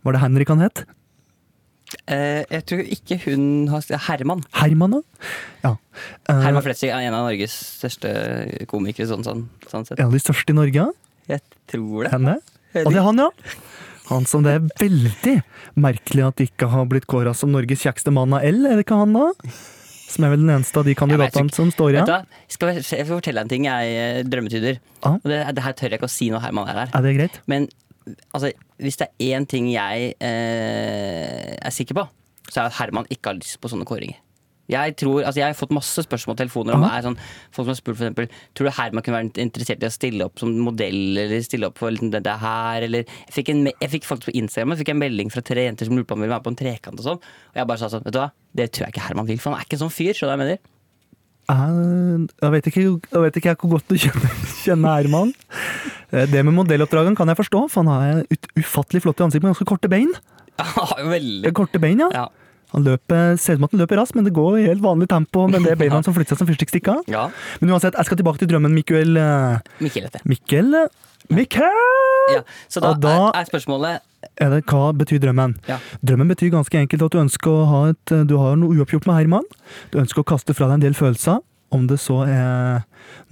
Speaker 2: Var det Henrik han het?
Speaker 3: Eh, jeg tror ikke hun har Herman.
Speaker 2: Herman, da? Ja. Eh,
Speaker 3: Herman Flesvig er en av Norges største komikere, sånn, sånn, sånn sett.
Speaker 2: En av de største i Norge?
Speaker 3: Jeg tror det.
Speaker 2: Henne? Og det er han, ja! Han som det er veldig merkelig at ikke har blitt kåra som Norges kjekkeste mann av L, er det ikke han da? Som er vel den eneste av de
Speaker 3: Jeg vet
Speaker 2: kandidatene
Speaker 3: ikke.
Speaker 2: som står
Speaker 3: Vet du
Speaker 2: igjen.
Speaker 3: hva? Skal jeg, jeg får fortelle deg en ting, jeg eh, drømmetyder.
Speaker 2: Ja.
Speaker 3: Og det, det her tør jeg ikke å si når Herman er her.
Speaker 2: Er det greit?
Speaker 3: Men altså, hvis det er én ting jeg eh, er sikker på, så er det at Herman ikke har lyst på sånne kåringer. Jeg tror, altså jeg har fått masse spørsmål og telefoner om det er sånn, folk som har spurt for eksempel, Tror du Herman kunne vært interessert i å stille opp som modell eller stille opp for liksom, dette her? Eller, jeg, fikk en, me- jeg fikk faktisk på Instagram jeg fikk en melding fra tre jenter som lurte på om hun ville være på en trekant. Og sånn Og jeg bare sa sånn, vet du hva, det tror jeg ikke Herman vil, for han er ikke sånn fyr. Skjønner du hva jeg mener?
Speaker 2: Jeg, jeg, vet ikke, jeg vet ikke hvor godt du kjenner, kjenner Herman. Eh, Det med modelloppdragene kan jeg forstå, for han har et ut- ufattelig flott i ansiktet med ganske korte bein. Eh,
Speaker 3: Han har jo veldig
Speaker 2: Korte bein, ja.
Speaker 3: Ja.
Speaker 2: Han løper, ser ut som at han løper raskt, men det går i helt vanlig tempo. Men det er beina som flytter seg som fyrstikkstikker.
Speaker 3: ja.
Speaker 2: Men uansett, jeg skal tilbake til drømmen Mikael eh,
Speaker 3: Mikkel heter det.
Speaker 2: Mikkel? eh, Mikkel!
Speaker 3: Ja. Så da,
Speaker 2: Og da-
Speaker 3: er, er spørsmålet
Speaker 2: Er det, hva betyr drømmen?
Speaker 3: Ja.
Speaker 2: Drømmen betyr ganske enkelt at du ønsker å ha et, eh, du har noe uoppgjort med Herman. Du ønsker å kaste fra deg en del følelser, om det så er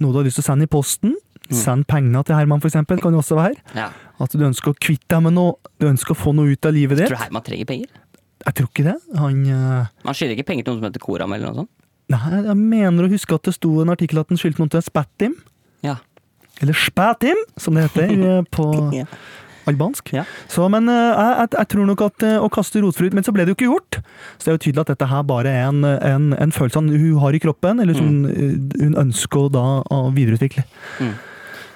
Speaker 2: noe du har lyst til å sende i posten.
Speaker 3: Mm.
Speaker 2: Send penger til Herman, for eksempel, kan jo også være.
Speaker 3: ja.
Speaker 2: At du ønsker å kvitte deg med noe. Du ønsker å få noe ut av livet
Speaker 3: Tror
Speaker 2: ditt.
Speaker 3: du Herman trenger penger?
Speaker 2: Jeg tror ikke det. Han eh,
Speaker 3: Man skylder ikke penger til noen som heter Koram eller noe sånt.
Speaker 2: Nei, jeg mener å huske at det sto en artikkel at han skyldte noen til Spatim.
Speaker 3: Ja.
Speaker 2: Eller Spatim, som det heter eh, på
Speaker 3: Ja.
Speaker 2: albansk.
Speaker 3: Ja.
Speaker 2: Så, men eh, jeg, jeg, jeg tror nok at eh, å kaste rotfrukt Men så ble det jo ikke gjort. Så det er jo tydelig at dette her bare er en, en, en følelse han, hun har i kroppen, eller som eh, hun ønsker å da å videreutvikle.
Speaker 3: Mm.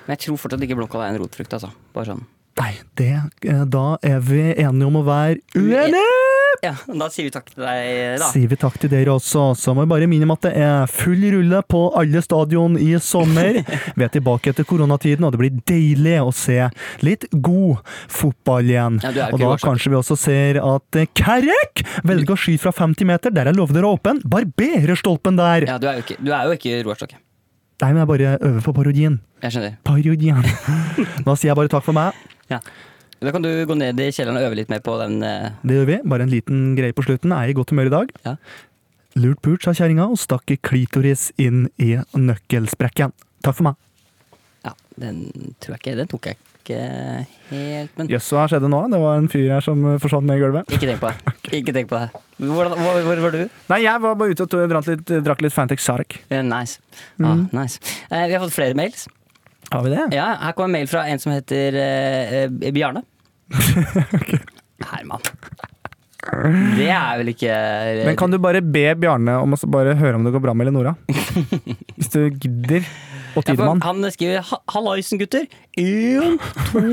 Speaker 3: Men jeg tror fortsatt ikke blomkål er en rotfrukt, altså. Bare sånn.
Speaker 2: Nei, det eh, Da er vi enige om å være uenige!
Speaker 3: Ja, da sier vi takk til deg, da.
Speaker 2: Sier vi takk til dere også. Så må vi bare minne om at det er full rulle på alle stadion i sommer. Vi er tilbake etter koronatiden, og det blir deilig å se litt god fotball igjen.
Speaker 3: Ja, du er jo
Speaker 2: og
Speaker 3: ikke
Speaker 2: da
Speaker 3: uansett.
Speaker 2: kanskje vi også ser at eh, Kerek velger å skyte fra 50 meter. Der er Lovder åpen. Barberer stolpen der!
Speaker 3: Ja, du er jo ikke, du er jo ikke Roar Stokke.
Speaker 2: Nei, men jeg bare øver på parodien.
Speaker 3: Jeg skjønner.
Speaker 2: Parodien. Da sier jeg bare takk for meg.
Speaker 3: Ja. Da kan du gå ned i kjelleren og øve litt mer på den eh,
Speaker 2: Det gjør vi. Bare en liten greie på slutten. Jeg er i godt humør i dag.
Speaker 3: Ja.
Speaker 2: Lurt pult, sa kjerringa, og stakk klitoris inn i nøkkelsprekken. Takk for meg.
Speaker 3: Ja, den tror jeg ikke Den tok jeg ikke helt, men
Speaker 2: Jøss, hva skjedde nå? Det var en fyr her som eh, forsvant ned i gulvet.
Speaker 3: Ikke tenk på det. Ikke tenk på det. Hvordan, hvor, hvor var du?
Speaker 2: Nei, jeg var bare ute og tog- drakk litt, drakk litt Fantex Sarek.
Speaker 3: Eh, Nice. Ah, nice. Eh, vi har fått flere mails.
Speaker 2: Har vi det?
Speaker 3: Ja, Her kommer en mail fra en som heter eh, eh, Bjarne. Herman. Det er vel ikke eh,
Speaker 2: Men kan du bare be Bjarne om å så bare høre om det går bra med Elinora? Hvis du gidder. Og
Speaker 3: Ja, for
Speaker 2: Tidemann.
Speaker 3: Han skriver "Ha- 'Hallaisen, gutter'. Én, to,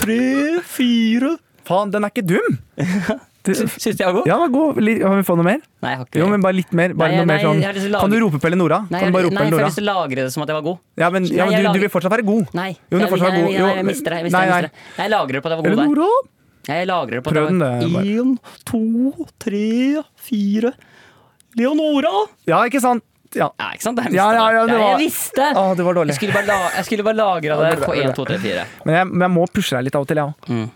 Speaker 3: tre, fire
Speaker 2: Faen, den er ikke dum! Du,
Speaker 3: Syns jeg var god?
Speaker 2: ja, den var god. Litt- Kan vi få noe mer?
Speaker 3: Nei, jeg har ikke
Speaker 2: Jo, men bare litt mer. Bare
Speaker 3: Nei,
Speaker 2: noe mer
Speaker 3: nei,
Speaker 2: sånn.
Speaker 3: jeg har lyst til å
Speaker 2: Kan du
Speaker 3: lage-
Speaker 2: rope på Elinora?
Speaker 3: Nei,
Speaker 2: Kan du
Speaker 3: jeg,
Speaker 2: bare rope på
Speaker 3: nei, for jeg har
Speaker 2: Elinora?
Speaker 3: lyst til å lagre det som at jeg var god.
Speaker 2: Ja, men, ja,
Speaker 3: Nei, jeg
Speaker 2: men du, du
Speaker 3: lager-
Speaker 2: vil fortsatt være god.
Speaker 3: Nei,
Speaker 2: Jo, men
Speaker 3: jeg,
Speaker 2: det er fortsatt
Speaker 3: nei,
Speaker 2: god.
Speaker 3: nei,
Speaker 2: Jo,
Speaker 3: nei, jeg mister det. Jeg, mister
Speaker 2: nei,
Speaker 3: det, jeg,
Speaker 2: nei.
Speaker 3: mister det. jeg lagrer på at jeg var god der.
Speaker 2: Elinora!
Speaker 3: Jeg lagrer på at
Speaker 2: Prøv
Speaker 3: jeg
Speaker 2: den,
Speaker 3: var
Speaker 2: det, bare.
Speaker 3: Én, to, tre, fire Leonora!
Speaker 2: Ja, ikke sant? Ja.
Speaker 3: Ja, ikke sant? Jeg
Speaker 2: Ja,
Speaker 3: visste
Speaker 2: ja, ja,
Speaker 3: det.
Speaker 2: det
Speaker 3: Ja,
Speaker 2: var-
Speaker 3: jeg visste!
Speaker 2: Å, det var dårlig.
Speaker 3: Jeg skulle bare, la, jeg skulle bare lagra det på
Speaker 2: bra, bra.
Speaker 3: én, to, tre, fire.
Speaker 2: Men jeg, men jeg må pushe deg litt av og til, jeg òg.
Speaker 3: Mm.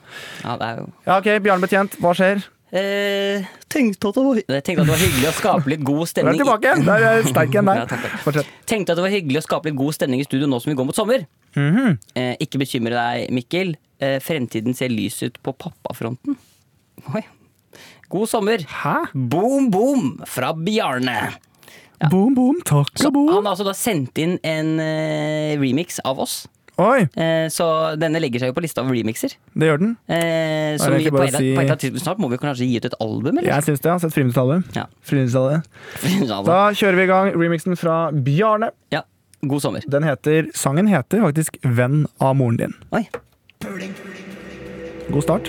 Speaker 3: Ja, det er jo
Speaker 2: Ja, OK, Bjarne Betjent, hva skjer?
Speaker 3: Eh, tenkte, at det var, jeg tenkte at det var hyggelig å skape litt god
Speaker 2: Du er
Speaker 3: stemning. i-
Speaker 2: tilbake! Der er jeg sterk igjen
Speaker 3: Ja,
Speaker 2: der.
Speaker 3: takk, takk.
Speaker 2: Fortsett.
Speaker 3: Tenkte
Speaker 2: Mhm.
Speaker 3: at det var hyggelig å skape litt god stemning i studio nå som vi går mot sommer. eh, ikke bekymre deg, Mikkel. eh, 'Fremtiden ser lys ut på pappafronten'. Oi. God sommer.
Speaker 2: Hæ?
Speaker 3: Boom, boom fra Bjarne.
Speaker 2: Boom, boom, takka
Speaker 3: Han
Speaker 2: boom.
Speaker 3: har altså da sendt inn en eh, remix av oss.
Speaker 2: Oi,
Speaker 3: Eh, så denne legger seg jo på lista av remixer.
Speaker 2: det gjør den.
Speaker 3: Eh, som vi
Speaker 2: egentlig
Speaker 3: på
Speaker 2: bare
Speaker 3: et,
Speaker 2: å si-
Speaker 3: på et eller annet tidspunkt snart må vi kanskje gi ut et album, eller?
Speaker 2: Jeg syns det. Jeg har sett Friminuttsalget.
Speaker 3: Ja.
Speaker 2: Friminuttsalget. Da kjører vi i gang remixen fra Bjarne.
Speaker 3: ja. God sommer.
Speaker 2: Den heter, sangen heter faktisk 'Venn av moren din'.
Speaker 3: Oi.
Speaker 2: God start.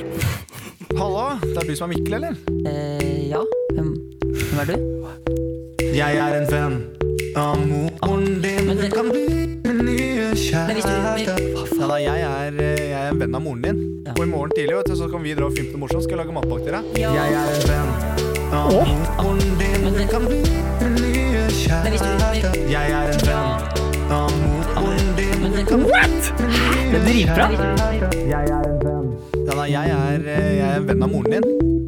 Speaker 2: Hallo, det er du som er Mikkel, eller?
Speaker 3: Eh, ja. Hvem, hvem er du?
Speaker 4: Jeg er en venn av moren din.
Speaker 3: Men
Speaker 4: Du
Speaker 3: det-
Speaker 4: kan bli min nye
Speaker 3: hvis du-
Speaker 4: kjæreste.
Speaker 2: Ja, da, jeg, er, eh, jeg er en venn av moren din. Og i morgen tidlig vet du, så kan vi dra og filme noe morsomt. Skal jeg lage matpakke til deg?
Speaker 4: Jeg er en venn av moren din. Du kan bli min nye kjæreste. Jeg er en venn av moren din. Du kan bli min nye
Speaker 3: Dritbra!
Speaker 4: Jeg er en venn.
Speaker 2: Ja, da, jeg, er, eh, jeg er en venn av moren din.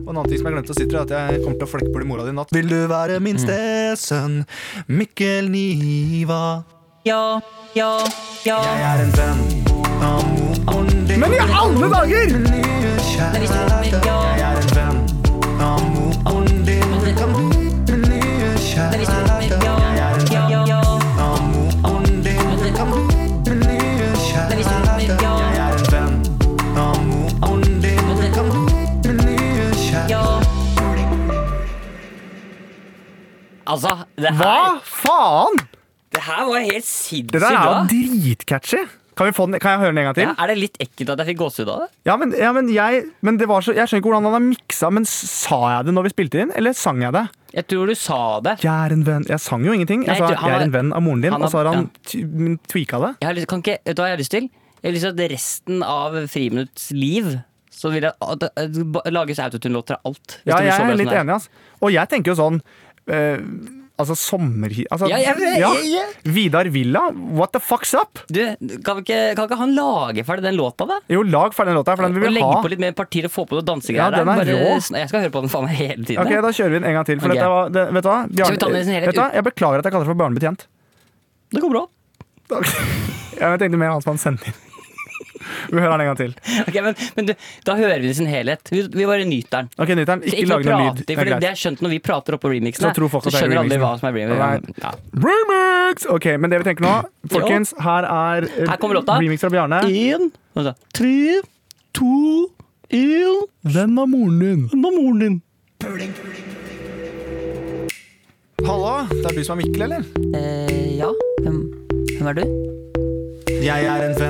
Speaker 2: Og en annen ting som jeg glemte å si til deg, er at jeg kommer til å flekke bort mora di i natt.
Speaker 4: Vil du være min stesønn, Mikkel Niva?
Speaker 3: Ja, ja, ja.
Speaker 4: Jeg er en venn av moren din.
Speaker 2: Men i alle dager!
Speaker 4: Min nye kjæreste.
Speaker 3: Ja.
Speaker 4: Jeg er en venn av moren din. Du kan bli min nye kjæreste. Jeg er en venn av moren din. Du kan bli min nye kjæreste. Jeg er en venn av moren din. Du kan bli min nye kjæreste.
Speaker 3: Altså, det her,
Speaker 2: Hva faen?
Speaker 3: det her var helt sinnssykt
Speaker 2: Det der er jo
Speaker 3: bra.
Speaker 2: dritcatchy. Kan, vi få den, kan jeg høre den en gang til?
Speaker 3: Ja, er det litt ekkelt at jeg fikk gåsehud av det?
Speaker 2: Ja, men, ja, men, jeg, men det var så, Jeg skjønner ikke hvordan han har miksa, men sa jeg det når vi spilte inn, eller sang jeg det?
Speaker 3: Jeg tror du sa det.
Speaker 2: Jeg er en venn Jeg sang jo ingenting.
Speaker 3: Nei,
Speaker 2: Jeg sa
Speaker 3: jeg tror- han
Speaker 2: jeg er en
Speaker 3: var-
Speaker 2: venn av moren din,
Speaker 3: han
Speaker 2: og så har
Speaker 3: har-
Speaker 2: han ty- men tweaka det.
Speaker 3: Jeg har lyst, kan ikke, vet du hva jeg har lyst til? Jeg har lyst til at resten av Friminutts liv så vil jeg at det- at det ba- lages autotune-låter av alt. hvis
Speaker 2: Ja,
Speaker 3: det blir
Speaker 2: jeg
Speaker 3: så bra
Speaker 2: er
Speaker 3: som
Speaker 2: litt
Speaker 3: det
Speaker 2: enig, ass. Og jeg tenker jo sånn eh, Altså sommerhi... Altså,
Speaker 3: Ja, jeg- jeg- jeg-
Speaker 2: Vidar Villa, what the fuck's up?
Speaker 3: Du, kan ikke, kan ikke han lage ferdig den låta, da?
Speaker 2: Jo, lag ferdig den låta her, for den
Speaker 3: Og
Speaker 2: vil vi
Speaker 3: legge
Speaker 2: ha.
Speaker 3: på litt mer partier og få på noe dansegreier.
Speaker 2: Ja, den er
Speaker 3: der.
Speaker 2: rå.
Speaker 3: sn- Jeg skal høre på den faen meg hele tiden.
Speaker 2: Ok, Da kjører vi den en gang til. For
Speaker 3: Ok.
Speaker 2: dette var, det, vet du hva?
Speaker 3: Skal vi ta den i sin helhet
Speaker 2: vet du hva? Jeg beklager at jeg kaller det for barnebetjent.
Speaker 3: Det går bra.
Speaker 2: Jeg tenkte mer han som han sendte inn. Vi hører den en gang til.
Speaker 3: Ok, men, men du, da hører vi den i sin helhet. Vi, vi bare nyter den.
Speaker 2: Ok, Nytern,
Speaker 3: Så
Speaker 2: ikke, lag noe lyd.
Speaker 3: prate, For det,
Speaker 2: greit.
Speaker 3: det er skjønt når vi prater oppå remixene.
Speaker 2: Så tror folk at det er
Speaker 3: skjønner alle
Speaker 2: remixen.
Speaker 3: hva som er remix.
Speaker 2: Alright.
Speaker 3: Ja.
Speaker 2: Remix! Ok, men det vi tenker nå, folkens, her er eh,
Speaker 3: Her kommer låta.
Speaker 2: remix fra Bjarne.
Speaker 3: En, altså, tre, to, en
Speaker 2: Venn av moren din.
Speaker 3: Nå er moren din.
Speaker 2: Hallo, det er du som er Mikkel, eller?
Speaker 3: Eh, ja. Hvem, hvem er du?
Speaker 4: Jeg er en venn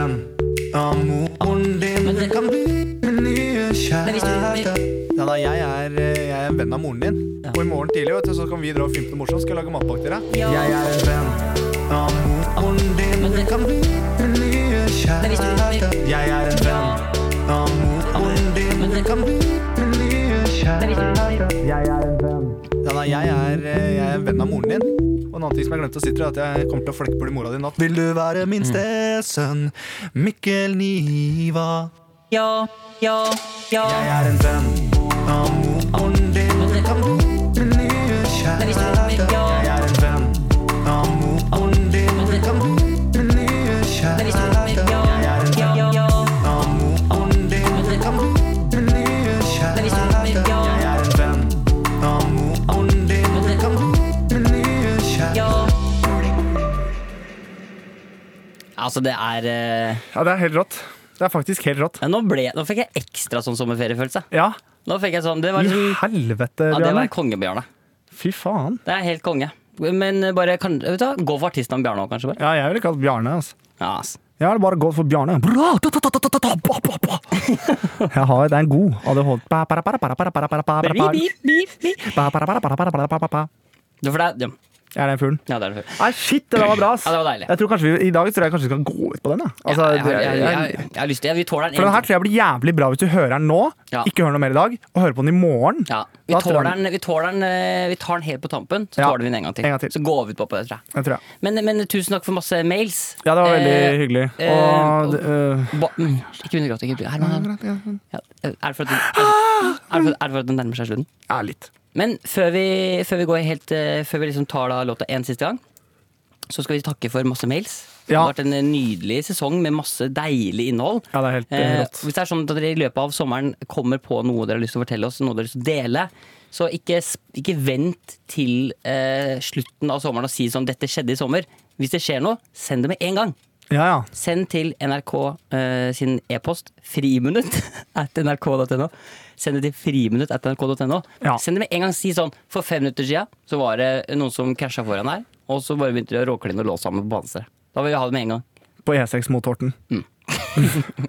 Speaker 4: av moren din. Du kan bli min nye kjæreste.
Speaker 2: Ja, da, jeg, er, eh, jeg er en venn av moren din. Og i morgen tidlig vet du, så kan vi dra og filme noe morsomt. Skal jeg lage matpakke til deg?
Speaker 4: Jeg er en venn av moren din. Du kan bli min nye kjæreste. Jeg er en venn av moren din. Du kan bli min nye kjæreste. Jeg er en venn.
Speaker 2: Ja, da, jeg, er, eh, jeg er en venn av moren din. Og en annen ting som jeg glemte å si til deg, er at jeg kommer til å flekke bort mora di i natt.
Speaker 4: Vil du være min
Speaker 2: Mm.
Speaker 4: stesønn, Mikkel Niva?
Speaker 3: Ja, ja, ja.
Speaker 4: Jeg er en venn av moren din. Du kan bli min nye kjæreste. Jeg er en venn av moren din. Du kan bli min nye kjæreste. Jeg er en venn av moren din. Du kan bli min nye kjæreste. Jeg er en venn av moren din. Du kan bli min nye kjæreste.
Speaker 3: Altså, det er eh,
Speaker 2: Ja, det er helt rått. Det er faktisk helt rått.
Speaker 3: ja, nå, ble, nå fikk jeg ekstra sånn sommerferiefølelse.
Speaker 2: Ja,
Speaker 3: Nå fikk jeg sånn, Det var,
Speaker 2: i
Speaker 3: liksom,
Speaker 2: helvete,
Speaker 3: ja, det
Speaker 2: Bjarne.
Speaker 3: var kongebjørne.
Speaker 2: Fy faen.
Speaker 3: Det er helt konge. Men eh, bare kan, vet du, hva, gå for artistnavn Bjarne òg, kanskje. bare
Speaker 2: Ja, jeg ville kalt Bjarne, altså.
Speaker 3: Ja, ass.
Speaker 2: Jeg har bare gått for Bjarne. Bra! Ta, ta, ta, ta, ta, ta, ba, ba, ba. Jeg har, det er en god ADHD. Ba, para, para, para, para, para, para, para,
Speaker 3: Bi, bi,
Speaker 2: para.
Speaker 3: bi, bi.
Speaker 2: Ba, para, para, para, para, para, para, para.
Speaker 3: Du, for det er,
Speaker 2: Jeg er den fuglen.
Speaker 3: ja, det er det.
Speaker 2: Nei, shit, det der var bra, ass.
Speaker 3: Ja, det var deilig.
Speaker 2: Jeg tror kanskje vi, I dag tror jeg kanskje vi skal gå ut på den. da. Altså,
Speaker 3: jeg, har,
Speaker 2: det-
Speaker 3: jeg, jeg, jeg,
Speaker 2: jeg-
Speaker 3: har lyst til Vi
Speaker 2: For
Speaker 3: tåler den.
Speaker 2: den her
Speaker 3: en-
Speaker 2: tror jeg blir jævlig bra hvis du hører den nå,
Speaker 3: Ja.
Speaker 2: ikke hører noe mer i dag, og hører på den i morgen.
Speaker 3: Ja, vi,
Speaker 2: Da tror
Speaker 3: tåler
Speaker 2: jeg-
Speaker 3: den, vi, tåler den, eh, vi tar den helt på tampen, så
Speaker 2: Ja,
Speaker 3: tåler vi den en gang til.
Speaker 2: en gang til.
Speaker 3: Så går vi ut på på det, tror jeg.
Speaker 2: Det tror jeg.
Speaker 3: Men, men tusen takk for masse mails.
Speaker 2: Ja, det var veldig
Speaker 3: Eh,
Speaker 2: hyggelig.
Speaker 3: eh,
Speaker 2: Og
Speaker 3: og-
Speaker 2: eh,
Speaker 3: Ba, mm, ikke begynn å gråte. Ikke begynn. Herman, ja, er det for at den- er det for- er det for at den nærmer seg slutten?
Speaker 2: Ja, litt.
Speaker 3: Men før vi, før vi går helt eh, Før vi liksom tar da låta en siste gang Så skal vi takke for masse mails. Det
Speaker 2: Ja.
Speaker 3: har vært en eh, nydelig sesong med masse deilig innhold.
Speaker 2: Ja, det er helt,
Speaker 3: Eh,
Speaker 2: rått.
Speaker 3: hvis det er sånn at dere i løpet av sommeren kommer på noe dere har lyst til å fortelle oss, noe dere har lyst til å dele, så ikke, s- ikke vent til eh, slutten av sommeren og si sånn 'dette skjedde i sommer'. Hvis det skjer noe, send det med en gang.
Speaker 2: Ja, ja.
Speaker 3: Send til NRK eh, sin e-post friminutt at nrk.no. Send det til friminutt at nrk.no.
Speaker 2: Ja.
Speaker 3: Send det med en gang. Si sånn For fem minutter siden så var det noen som krasja foran her, og så bare begynte de å råkline og lå sammen på Banestrand. Da vil vi ha det med en gang.
Speaker 2: På E6 mot Horten.
Speaker 3: Mm.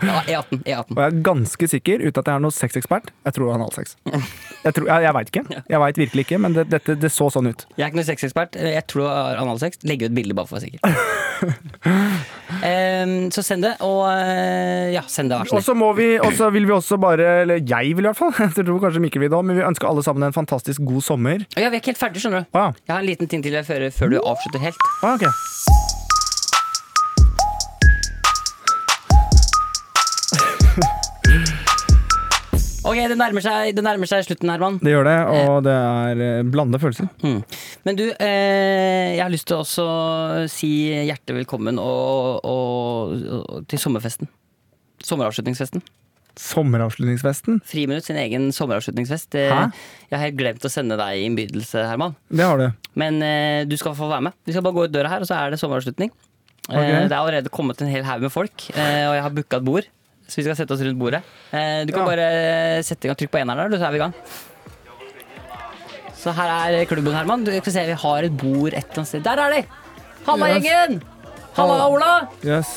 Speaker 3: Ja, E18. E18.
Speaker 2: Og jeg er ganske sikker, uten at jeg er noen sexekspert, jeg tror han har sex. Jeg, tror- jeg, jeg veit ikke. Jeg veit virkelig ikke, men det, dette, det så sånn ut.
Speaker 3: Jeg er ikke noen sexekspert. Jeg tror jeg har analsex. Legger ut bilde bare for å være sikker. Em, så send det, og eh, ja, send det, vær så
Speaker 2: Og
Speaker 3: snill.
Speaker 2: så må vi, og så vil vi også bare, eller jeg vil i hvert fall, jeg tror kanskje Mikkel vil det òg, men vi ønsker alle sammen en fantastisk god sommer.
Speaker 3: Å Ja, vi er ikke helt ferdige, skjønner du.
Speaker 2: Å ja.
Speaker 3: Jeg har en liten ting til jeg fører før du avslutter helt.
Speaker 2: Å, ok.
Speaker 3: Ok, det nærmer seg, det nærmer seg slutten, Herman.
Speaker 2: Det gjør det, og det er eh, blandede følelser.
Speaker 3: Mm. Men du, eh, jeg har lyst til å også si hjertelig velkommen og, og, og, til sommerfesten. Sommeravslutningsfesten.
Speaker 2: Sommeravslutningsfesten,
Speaker 3: Friminutt sin egen sommeravslutningsfest. Eh,
Speaker 2: Hæ?
Speaker 3: Jeg har helt glemt å sende deg innbydelse, Herman.
Speaker 2: det har du.
Speaker 3: Men eh, du skal få være med. Vi skal bare gå ut døra her, og så er det sommeravslutning.
Speaker 2: Ok.
Speaker 3: Eh, det er allerede kommet en hel haug med folk, eh, og jeg har booka et bord. Så vi skal sette oss rundt bordet. Eh, du kan
Speaker 2: Ja.
Speaker 3: bare sette i gang trykk på eneren der, du, så er vi i gang. Så her er klubben, Herman. Du, skal vi se, vi har et bord et eller annet sted. Der er de! Halla,
Speaker 2: Yes.
Speaker 3: gjengen! Halla, Ola!
Speaker 2: Yes.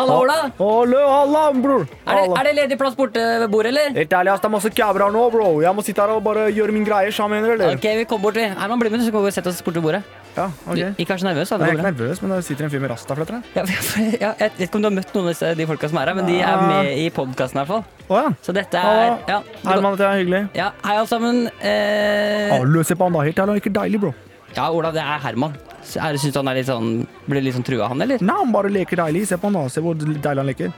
Speaker 3: Halla, Ola!
Speaker 2: Ole, halla, bror!
Speaker 3: Er det, er det ledig plass borte ved bordet, eller?
Speaker 2: Helt ærlig, ass, det er masse cabra nå, bro. Jeg må sitte her og bare gjøre min greie sammen, eller?
Speaker 3: Ok, vi kommer bort. vi. Herman, bli med, så går vi og setter oss borte ved bordet.
Speaker 2: Ja, ok.
Speaker 3: Du, ikke vær så nervøs. da,
Speaker 2: Jeg er
Speaker 3: det går
Speaker 2: ikke
Speaker 3: bra.
Speaker 2: nervøs, men det sitter en fyr med rastafletter her.
Speaker 3: Ja, for- ja, jeg vet ikke om du har møtt noen av disse- de folka som er her, men de er med i podkasten i hvert fall.
Speaker 2: Å ja.
Speaker 3: Så dette er
Speaker 2: Hallo.
Speaker 3: ja,
Speaker 2: Herman heter jeg, hyggelig.
Speaker 3: ja, Hei, alle sammen. Eh,
Speaker 2: Hallo, se på han da, helt ærlig, han er ikke deilig, bro.
Speaker 3: ja, Olav, det er Herman. S- Er, synes du han er litt sånn, blir litt sånn trua, han, eller?
Speaker 2: Nei, han bare leker deilig. Se på han da, se hvor deilig han leker.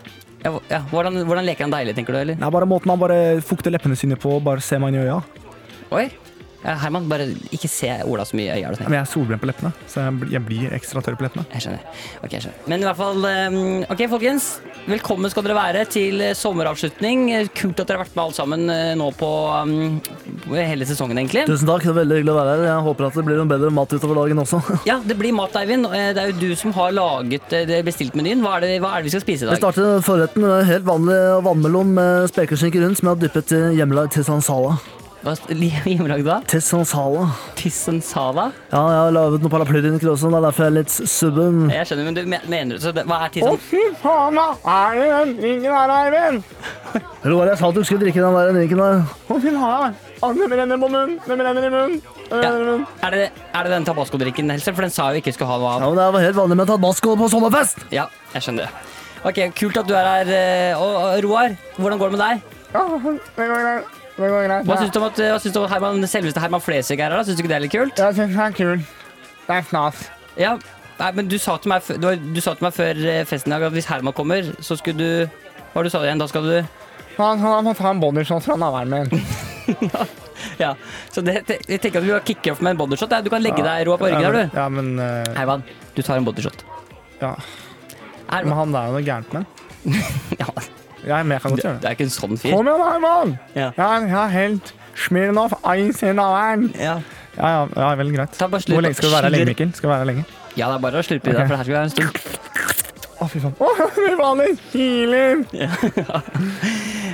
Speaker 3: Ja, hvor- ja, hvordan, hvordan leker han deilig, tenker du, eller?
Speaker 2: Nei, bare måten han bare fukter leppene sine på, bare se meg inn i øya.
Speaker 3: Oi. Ja, Herman, bare ikke se Ola så mye i øya. er det sånn?
Speaker 2: Men jeg er solbrent på leppene, så jeg, bl- jeg blir ekstra tørr på leppene.
Speaker 3: Jeg skjønner. Ok, jeg skjønner. Men i hvert fall eh, Ok, folkens. Velkommen skal dere være til eh, sommeravslutning. Eh, Kult at dere har vært med alle sammen eh, nå på eh, hele sesongen, egentlig.
Speaker 5: Tusen takk, det er veldig hyggelig å være her. Jeg håper at det blir en bedre mat utover dagen også.
Speaker 3: Ja, det blir mat, Eivind. Eh, Det er jo du som har laget eh, det bestilt menyen. Hva er det, hva er det vi skal spise i
Speaker 5: Vi
Speaker 3: dag?
Speaker 5: starter med forretten med helt vanlig vannmelon med spekeskinke rundt, som jeg har dyppet i hjemmelagd tisansala.
Speaker 3: Hva hjemmelagd da?
Speaker 5: Tisansala.
Speaker 3: Tissen sala?
Speaker 5: Ja, jeg har laget noen paraplyrynker også, det er derfor jeg er litt subben.
Speaker 3: Jeg skjønner, men du me- mener du så det, Hva er tissen?
Speaker 2: fy faen, da! Er det den ringen her, Eivind?
Speaker 5: Eller var det jeg sa at du skulle drikke den der drinken der?
Speaker 2: Å, fy faen, Arne renner på munnen, den renner i munnen.
Speaker 3: Ja. Er, det, er det den tabascodrikken, Helse? For den sa jo ikke skulle ha noe
Speaker 5: Ja,
Speaker 3: av.
Speaker 5: men det var helt vanlig med tabasco på sommerfest!
Speaker 3: Ja, jeg skjønner det. Ok, Kult at du er her. eh, Og og Roar, hvordan går det med deg?
Speaker 2: Ja, det går greit. Det går greit.
Speaker 3: Hva syns du om at, hva syns du om at Herman, selveste Herman Flesvig er her? da? Syns du ikke det er litt kult?
Speaker 2: Jeg syns den er kul. Det er snas.
Speaker 3: Ja, Nei, men du sa til meg, fø- du, har- du sa til meg før eh, festen i dag at hvis Herman kommer, så skulle du Hva var det du sa igjen? Da skal du
Speaker 2: Han, han må ta en bodyshot fra navlen min.
Speaker 3: Ja, så det, det- jeg tenker at vi kan kicke off med en bodyshot. ja. Du kan legge deg Roar på ryggen her, du.
Speaker 2: Ja, men eh,
Speaker 3: Herman, du tar en bodyshot.
Speaker 2: ja. Men
Speaker 3: Herman.
Speaker 2: han der er jo noe gærent med den.
Speaker 3: Ja,
Speaker 2: Ja, men jeg kan
Speaker 3: du,
Speaker 2: godt gjøre
Speaker 3: du
Speaker 2: det.
Speaker 3: er ikke en sånn fyr.
Speaker 2: Kom igjen, Herman!
Speaker 3: Ja.
Speaker 2: Jeg er- jeg er helt Smirnov Ice i navlen.
Speaker 3: Ja.
Speaker 2: Ja, ja, ja, vel, greit.
Speaker 3: Ta bare slurp-
Speaker 2: Hvor lenge skal du være her lenge,
Speaker 3: slurp-
Speaker 2: Mikkel? Skal du være her lenge?
Speaker 3: ja, det er bare å slurpe i deg,
Speaker 2: Ok.
Speaker 3: for det her skal vi ha en stund.
Speaker 2: Å, fy faen. Å, fy faen, det kiler!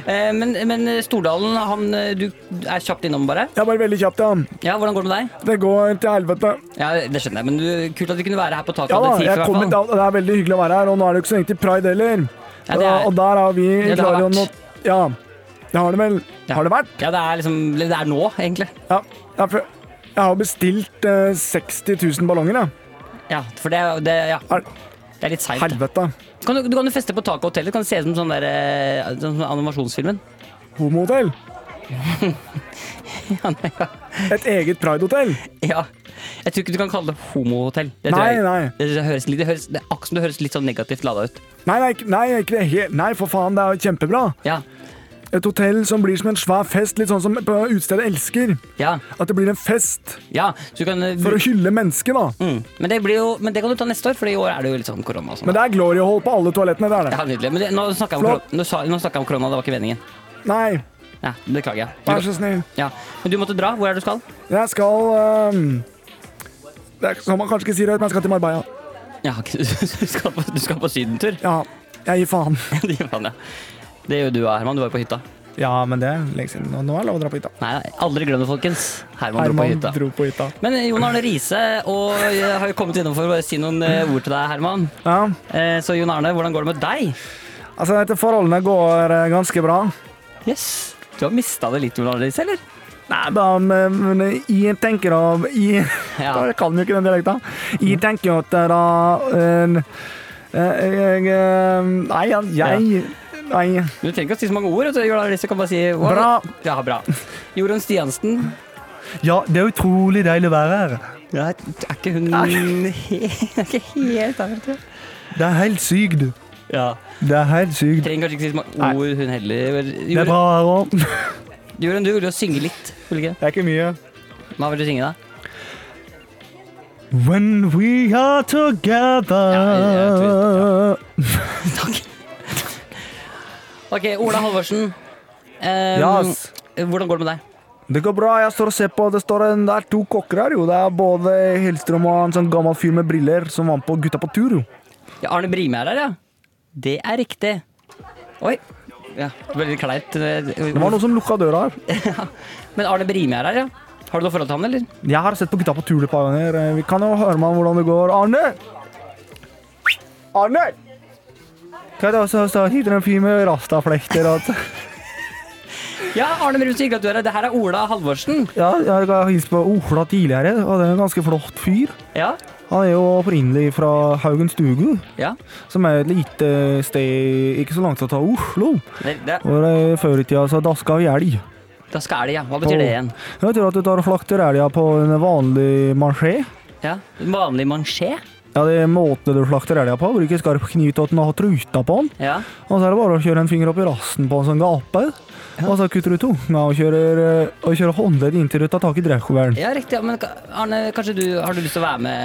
Speaker 3: Eh, Men, men Stordalen, han, eh, du er kjapt innom, bare.
Speaker 2: Jeg er bare veldig kjapt, ja.
Speaker 3: Ja, Hvordan går det med deg?
Speaker 2: Det går til helvete.
Speaker 3: Ja, Det skjønner jeg, men du, kult at du kunne være her på taket.
Speaker 2: Ja da,
Speaker 3: av det
Speaker 2: jeg
Speaker 3: tife, i
Speaker 2: kommer,
Speaker 3: hvert
Speaker 2: da,
Speaker 3: fall.
Speaker 2: det er veldig hyggelig å være her, og nå er det jo ikke så lenge til pride heller.
Speaker 3: Ja, det er-
Speaker 2: og der er vi
Speaker 3: det har
Speaker 2: klare å nå
Speaker 3: vært.
Speaker 2: Ja, det har det vel.
Speaker 3: Ja.
Speaker 2: Har det vært?
Speaker 3: Ja, det er liksom Det er nå, egentlig.
Speaker 2: Ja. ja for jeg har bestilt eh, 60 000 ballonger, jeg.
Speaker 3: Ja, for det, er- det, ja,
Speaker 2: Er-
Speaker 3: det er litt seigt.
Speaker 2: Helvete.
Speaker 3: Kan du, du kan jo feste på taket av hotellet. Kan det se ut som sånn der, eh, sånn som animasjonsfilmen.
Speaker 2: Homohotell. Et eget pridehotell.
Speaker 3: Ja. Jeg tror ikke du kan kalle det homohotell. Det tror
Speaker 2: Nei,
Speaker 3: jeg ikke.
Speaker 2: nei.
Speaker 3: Det høres, litt- det høres, det er akkurat som det høres litt sånn negativt lada ut.
Speaker 2: Nei, nei, ikke- nei, ikke det. he- Nei, for faen, det er jo kjempebra.
Speaker 3: Ja.
Speaker 2: Et hotell som blir som en svær fest, litt sånn som på utestedet Elsker.
Speaker 3: Ja,
Speaker 2: At det blir en fest
Speaker 3: ja, så du kan eh,
Speaker 2: for å hylle mennesket, da.
Speaker 3: mm. men, det blir jo, men det kan du ta neste år, for i år er det jo litt sånn korona og sånn.
Speaker 2: Men det er glory hall på alle toalettene, det er det.
Speaker 3: Ja, nydelig. Men det, nå snakka jeg om,
Speaker 2: Flott.
Speaker 3: korona- nå sa- nå snakket jeg om korona, det var ikke meningen.
Speaker 2: Nei,
Speaker 3: Ja, beklager jeg.
Speaker 2: vær
Speaker 3: Du,
Speaker 2: så snill.
Speaker 3: ja. Men du måtte dra. Hvor er det du skal?
Speaker 2: Jeg skal ehm, Det er som man kanskje ikke sier høyt, men jeg skal til Marbella.
Speaker 3: Ja, ok, du skal på, du skal på sydentur.
Speaker 2: Ja, jeg gir faen.
Speaker 3: De faen, ja. Det gjør du òg, Herman. Du var jo på hytta.
Speaker 6: Ja, men det er lenge siden. Nå- Nå er det lov å dra på hytta.
Speaker 3: Nei, nei, aldri glem det, folkens. Herman, dro på
Speaker 2: Herman
Speaker 3: hytta.
Speaker 2: dro på hytta.
Speaker 3: Men eh, Jon Arne Riise og jeg har jo kommet innom for å si noen eh, ord til deg, Herman.
Speaker 2: Ja,
Speaker 3: Eh, Så Jon Arne, hvordan går det med deg?
Speaker 2: altså dette Forholdene går eh, ganske bra.
Speaker 3: Yes. Du har mista det litt, Jon Arne Riise, eller?
Speaker 2: Nei, da, men men jeg tenker da Jeg
Speaker 3: Ja. Mm.
Speaker 2: da kan jo ikke den dialekten. Jeg tenker jo at det da eh, eh, jeg, eh, Nei, jeg, jeg Nei.
Speaker 3: Du trenger ikke å si så mange ord. vet du. Jon Arne Riise kan bare si hva-
Speaker 2: Bra.
Speaker 3: Ja, bra. Jorunn Stiansen.
Speaker 6: Ja, det er utrolig deilig å være her.
Speaker 3: Ja, er ikke hun helt Ikke helt der, tror jeg.
Speaker 6: Det er helt sykt.
Speaker 3: Ja.
Speaker 6: Det er helt sykt.
Speaker 3: Trenger kanskje ikke si så mange ord, hun heller.
Speaker 6: Det er
Speaker 3: Jorunn,
Speaker 6: bra her òg.
Speaker 3: Jorunn, du ville jo synge litt, ville du ikke?
Speaker 6: Det er ikke mye.
Speaker 3: Hva vil du synge, da?
Speaker 6: When we are together
Speaker 3: Ja, Ok, Ola Halvorsen. Eh,
Speaker 2: Jas.
Speaker 3: Hvordan går det med deg?
Speaker 2: Det går bra. Jeg står og ser på Det står en, det er to kokker her, jo. Det er både Hellstrøm og en sånn gammel fyr med briller som var med på Gutta på tur, jo.
Speaker 3: Ja, Arne Brime er her, ja. Det er riktig. Oi. Ja, Veldig kleint. eh,
Speaker 2: Det var noen som lukka døra her.
Speaker 3: Men Arne Brime er her, ja. Har du noe forhold til han, eller?
Speaker 2: Jeg har sett på Gutta på tur et par ganger. Eh, Vi kan jo høre med han hvordan det går. Arne! Arne! Kan jeg også stå hit en fyr med rastaflekter og
Speaker 3: Ja, Arne Brime, så hyggelig at du er her. Det her er Ola Halvorsen.
Speaker 2: Ja, jeg har hilst på Ola tidligere, og det er en ganske flott fyr.
Speaker 3: Ja.
Speaker 2: Han er jo opprinnelig fra Haugen Stugu,
Speaker 3: ja.
Speaker 2: som er et lite sted ikke så langt fra Oslo.
Speaker 3: Det, det.
Speaker 2: Og det, før i tida så daska vi elg.
Speaker 3: Da skal det, ja. Hva betyr det igjen?
Speaker 2: Jeg tror at du tar og slakter elga på en vanlig maché.
Speaker 3: Ja, Vanlig mansjé?
Speaker 2: Ja, det er måten du slakter elga på. Bruker skarp kniv til at den har truta på den.
Speaker 3: Ja.
Speaker 2: Og så er det bare å kjøre en finger opp i rassen på en sånn gape. Og så kutter du tunga og kjører, eh, og kjører håndledd inntil du tar tak i drekkoveren.
Speaker 3: ja, riktig. Ja. Men ka- Arne, kanskje du har du lyst til å være med?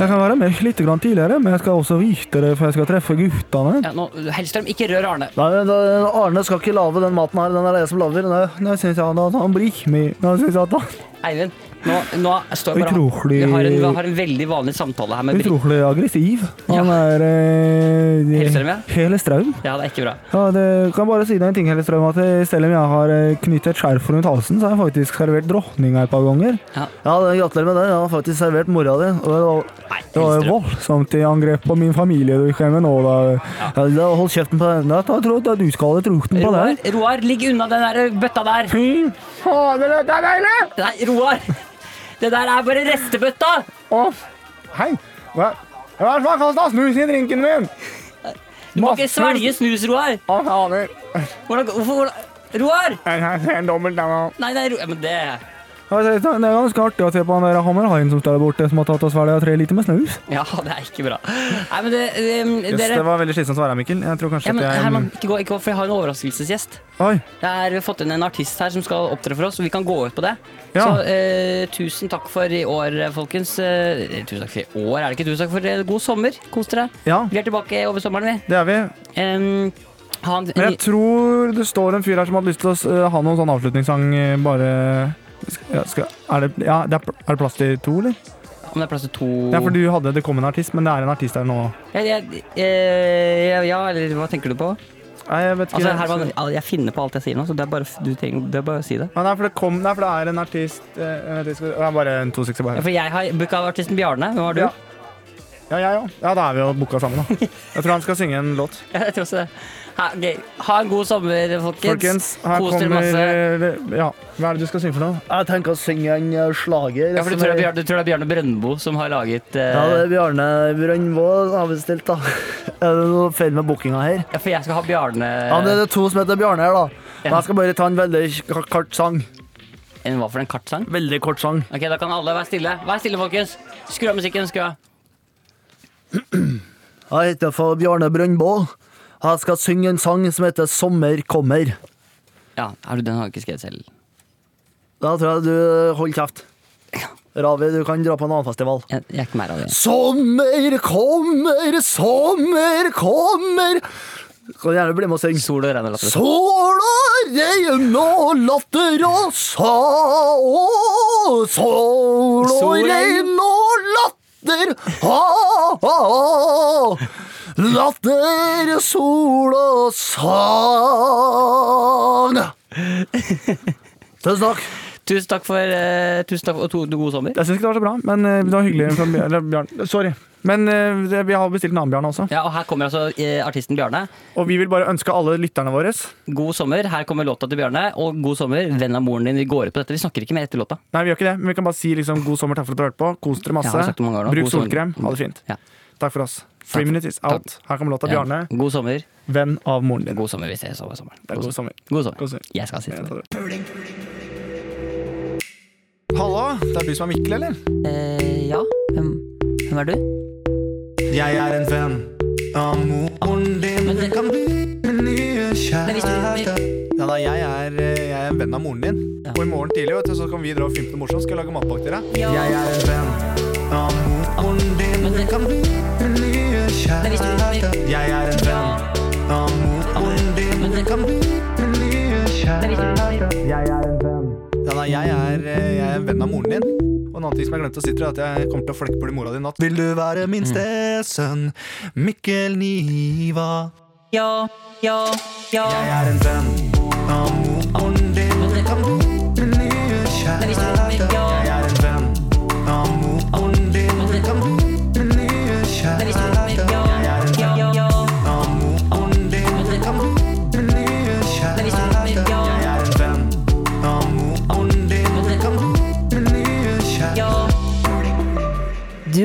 Speaker 2: Jeg kan være med litt grann tidligere, men jeg skal også vite det, for jeg skal treffe guttene.
Speaker 3: Ja, nå, Hellstrøm, ikke rør Arne.
Speaker 5: Nei, men da- Arne skal ikke lage den maten her. Den er det jeg som lager. Nei,
Speaker 2: Nå syns jeg at han blir med. Nå synes jeg at han
Speaker 3: Eivind, nå, nå står bare
Speaker 2: Utrolig-
Speaker 3: Vi har en, vi har en veldig vanlig samtale her med Brit.
Speaker 2: Utrolig aggressiv. Han
Speaker 3: Ja.
Speaker 2: er eh,
Speaker 3: Hellstrøm, ja.
Speaker 2: Hellstrøm.
Speaker 3: Ja, det er ikke bra.
Speaker 2: Ja, det kan bare si deg en ting, Hellestrøm, at eh, selv om jeg har eh, knyttet et skjerf rundt halsen, så har jeg faktisk servert dronninga et par ganger.
Speaker 5: Ja, det- Gratulerer med det. Jeg har faktisk servert mora di. Og det var-
Speaker 3: Nei,
Speaker 2: Det var
Speaker 3: Hellstrøm.
Speaker 2: jo voldsomt i angrep på min familie du kommer nå, da.
Speaker 5: ja, da- Hold kjeften på deg.
Speaker 2: Da tror jeg at du skal ha trukten på
Speaker 3: Roar,
Speaker 2: deg.
Speaker 3: Roar, ligg unna den der bøtta der.
Speaker 2: Fy fader, dette er deilig!
Speaker 3: Nei, Roar. Det der er bare restebøtta.
Speaker 2: Å, hei. Hva hva er det som har kasta snus i drinken min?
Speaker 3: Du må ikke svelge snus, Roar.
Speaker 2: Å, fader.
Speaker 3: Hvordan, hvorfor, hvordan? Roar!
Speaker 2: Jeg ser en dobbelt der nå.
Speaker 3: Nei, nei, Ro- ja, men det
Speaker 2: Det er ganske artig å se på han der hammerhaien som står der borte, som har tatt og svelget tre liter med snus.
Speaker 3: Ja, det er ikke bra. Nei, men det, um,
Speaker 6: Jøss, det
Speaker 3: dere
Speaker 6: var veldig slitsomt å være her, Mikkel. Jeg tror kanskje
Speaker 3: ja, men,
Speaker 6: at jeg
Speaker 3: Herman, ikke gå, ikke gå, for jeg har en overraskelsesgjest.
Speaker 2: Oi.
Speaker 3: Det er, vi har fått inn en artist her som skal opptre for oss, og vi kan gå ut på det.
Speaker 2: Ja.
Speaker 3: Så eh, tusen takk for i år, folkens. Eh, tusen takk for i år, er det ikke? Tusen takk for eh, god sommer. Kos dere.
Speaker 2: Ja,
Speaker 3: Vi er tilbake over sommeren, vi.
Speaker 2: det er vi.
Speaker 3: Em, ha en,
Speaker 2: Men jeg tror det står en fyr her som hadde lyst til å s- eh, ha noen sånn avslutningssang eh, bare Sk- ja, skal, er, det, ja, det er, pl- er det plass til to, eller?
Speaker 3: om det er plass til to
Speaker 6: Ja, for du hadde Det kom en artist, men det er en artist her nå.
Speaker 3: jeg, jeg, eh, ja, ja, eller hva tenker du på?
Speaker 6: Nei, jeg vet ikke.
Speaker 3: Altså, Herman, al- jeg finner på alt jeg sier nå, så det er bare, du trenger, det er bare å si det.
Speaker 6: Ja, nei, for det kom Nei, for det er en artist eh, jeg vet ikke, skal- ja, Bare en to seks
Speaker 3: Ja,
Speaker 6: bare.
Speaker 3: for jeg har booka artisten Bjarne. Hvem var du?
Speaker 6: Ja. Ja, jeg òg. Ja, da er vi jo booka sammen, da. Jeg tror han skal synge en låt.
Speaker 3: Ja, jeg tror også det. Ha, ok. ha en god sommer, folkens.
Speaker 6: Folkens, her
Speaker 3: Kos dere
Speaker 6: kommer
Speaker 3: masse.
Speaker 6: eh, Ja, hva er det du skal synge for noe?
Speaker 5: Jeg tenker å synge en eh, slager.
Speaker 3: Ja, for du
Speaker 5: som
Speaker 3: tror, det er
Speaker 5: er-
Speaker 3: Bjarne, du tror det er Bjarne Brøndbo som har laget eh,
Speaker 5: Ja, det er Bjarne Brøndbo har bestilt, da. Er det noe feil med bookinga her?
Speaker 3: Ja, for jeg skal ha Bjarne
Speaker 5: Ja, men det er to som heter Bjarne her, da. Men
Speaker 3: Ja.
Speaker 5: jeg skal bare ta en veldig k- kort sang.
Speaker 3: En hva for en kartsang?
Speaker 5: Veldig kort sang.
Speaker 3: Ok, da kan alle være stille. Vær stille, folkens. Skru av musikken. skru av.
Speaker 5: Jeg heter for Bjarne Brøndbo. Jeg skal synge en sang som heter Sommer kommer.
Speaker 3: Ja, er du, Den har jeg ikke skrevet selv.
Speaker 5: Da tror jeg du eh, holder kjeft. Ravi, du kan dra på en annen festival.
Speaker 3: Jeg, jeg er ikke mer av det.
Speaker 5: Sommer kommer, sommer kommer Kan gjerne bli med og synge.
Speaker 3: Sol og regn og latter.
Speaker 5: Sol og regn og latter og sa og Sol
Speaker 3: Sol,
Speaker 5: og regn og latter ha, ha, ha. Latter, sol og savn. Tusen takk.
Speaker 3: Tusen takk for eh, tusen takk, og to, to, god sommer.
Speaker 2: Jeg syns ikke det var så bra, men eh, det var hyggelig. Fra, Bjørn- eller, Bjørn, sorry. Men eh, det- vi har bestilt en annen Bjarne også.
Speaker 3: Ja, og Her kommer altså eh, artisten Bjarne.
Speaker 2: Og vi vil bare ønske alle lytterne våre
Speaker 3: God sommer. Her kommer låta til Bjarne. Og god sommer, venn av moren din. Vi går ut på dette. Vi snakker ikke mer etter låta.
Speaker 2: Nei, vi gjør ikke det, men vi kan bare si liksom, god sommer, takk for at du hørte på. Kos dere
Speaker 3: Ja, jeg har
Speaker 2: masse.
Speaker 3: sagt det mange ganger nå.
Speaker 2: Bruk
Speaker 3: God sommer. Mm.
Speaker 2: solkrem. Ha det fint.
Speaker 3: Ja.
Speaker 2: Takk for oss. Three
Speaker 3: for-
Speaker 2: minutes is out.
Speaker 3: takk.
Speaker 2: Her kommer låta Bjarne,
Speaker 3: Ja. God sommer.
Speaker 2: venn av moren din.
Speaker 3: God sommer. Vi ses over sommeren.
Speaker 2: Det er god sommer.
Speaker 3: God sommer.
Speaker 2: God sommer.
Speaker 3: Jeg skal si det.
Speaker 2: Hallo, det er du som er Mikkel, eller?
Speaker 3: Eh, ja. Hvem, hvem er du?
Speaker 4: Jeg er en venn av moren din. Du kan bli min nye kjæreste.
Speaker 2: Ja da, jeg er, eh, jeg er en venn av moren din. Og i morgen tidlig vet du, så kan vi dra og filme noe morsomt. Skal jeg lage matpakke til deg?
Speaker 4: Jeg er en venn av moren din. Du kan bli min nye kjæreste. Jeg er en venn av moren din. Du kan bli min nye kjæreste. Jeg er en venn.
Speaker 2: Ja da, jeg er, eh, jeg er en venn av moren din. Og en annen ting som jeg glemte å si til deg, er at jeg kommer til å flekke bort mora di i natt.
Speaker 4: Vil du være min stesønn, Mikkel Niva?
Speaker 3: Ja, ja, ja.
Speaker 4: Jeg er en venn av moren din. Du kan bli min nye kjæreste. Jeg er en venn av moren din. Du kan bli min nye kjæreste. Jeg er en venn av moren din. Du kan bli min nye kjæreste. Jeg er en venn av moren din. Du kan bli min nye kjæreste.
Speaker 1: Du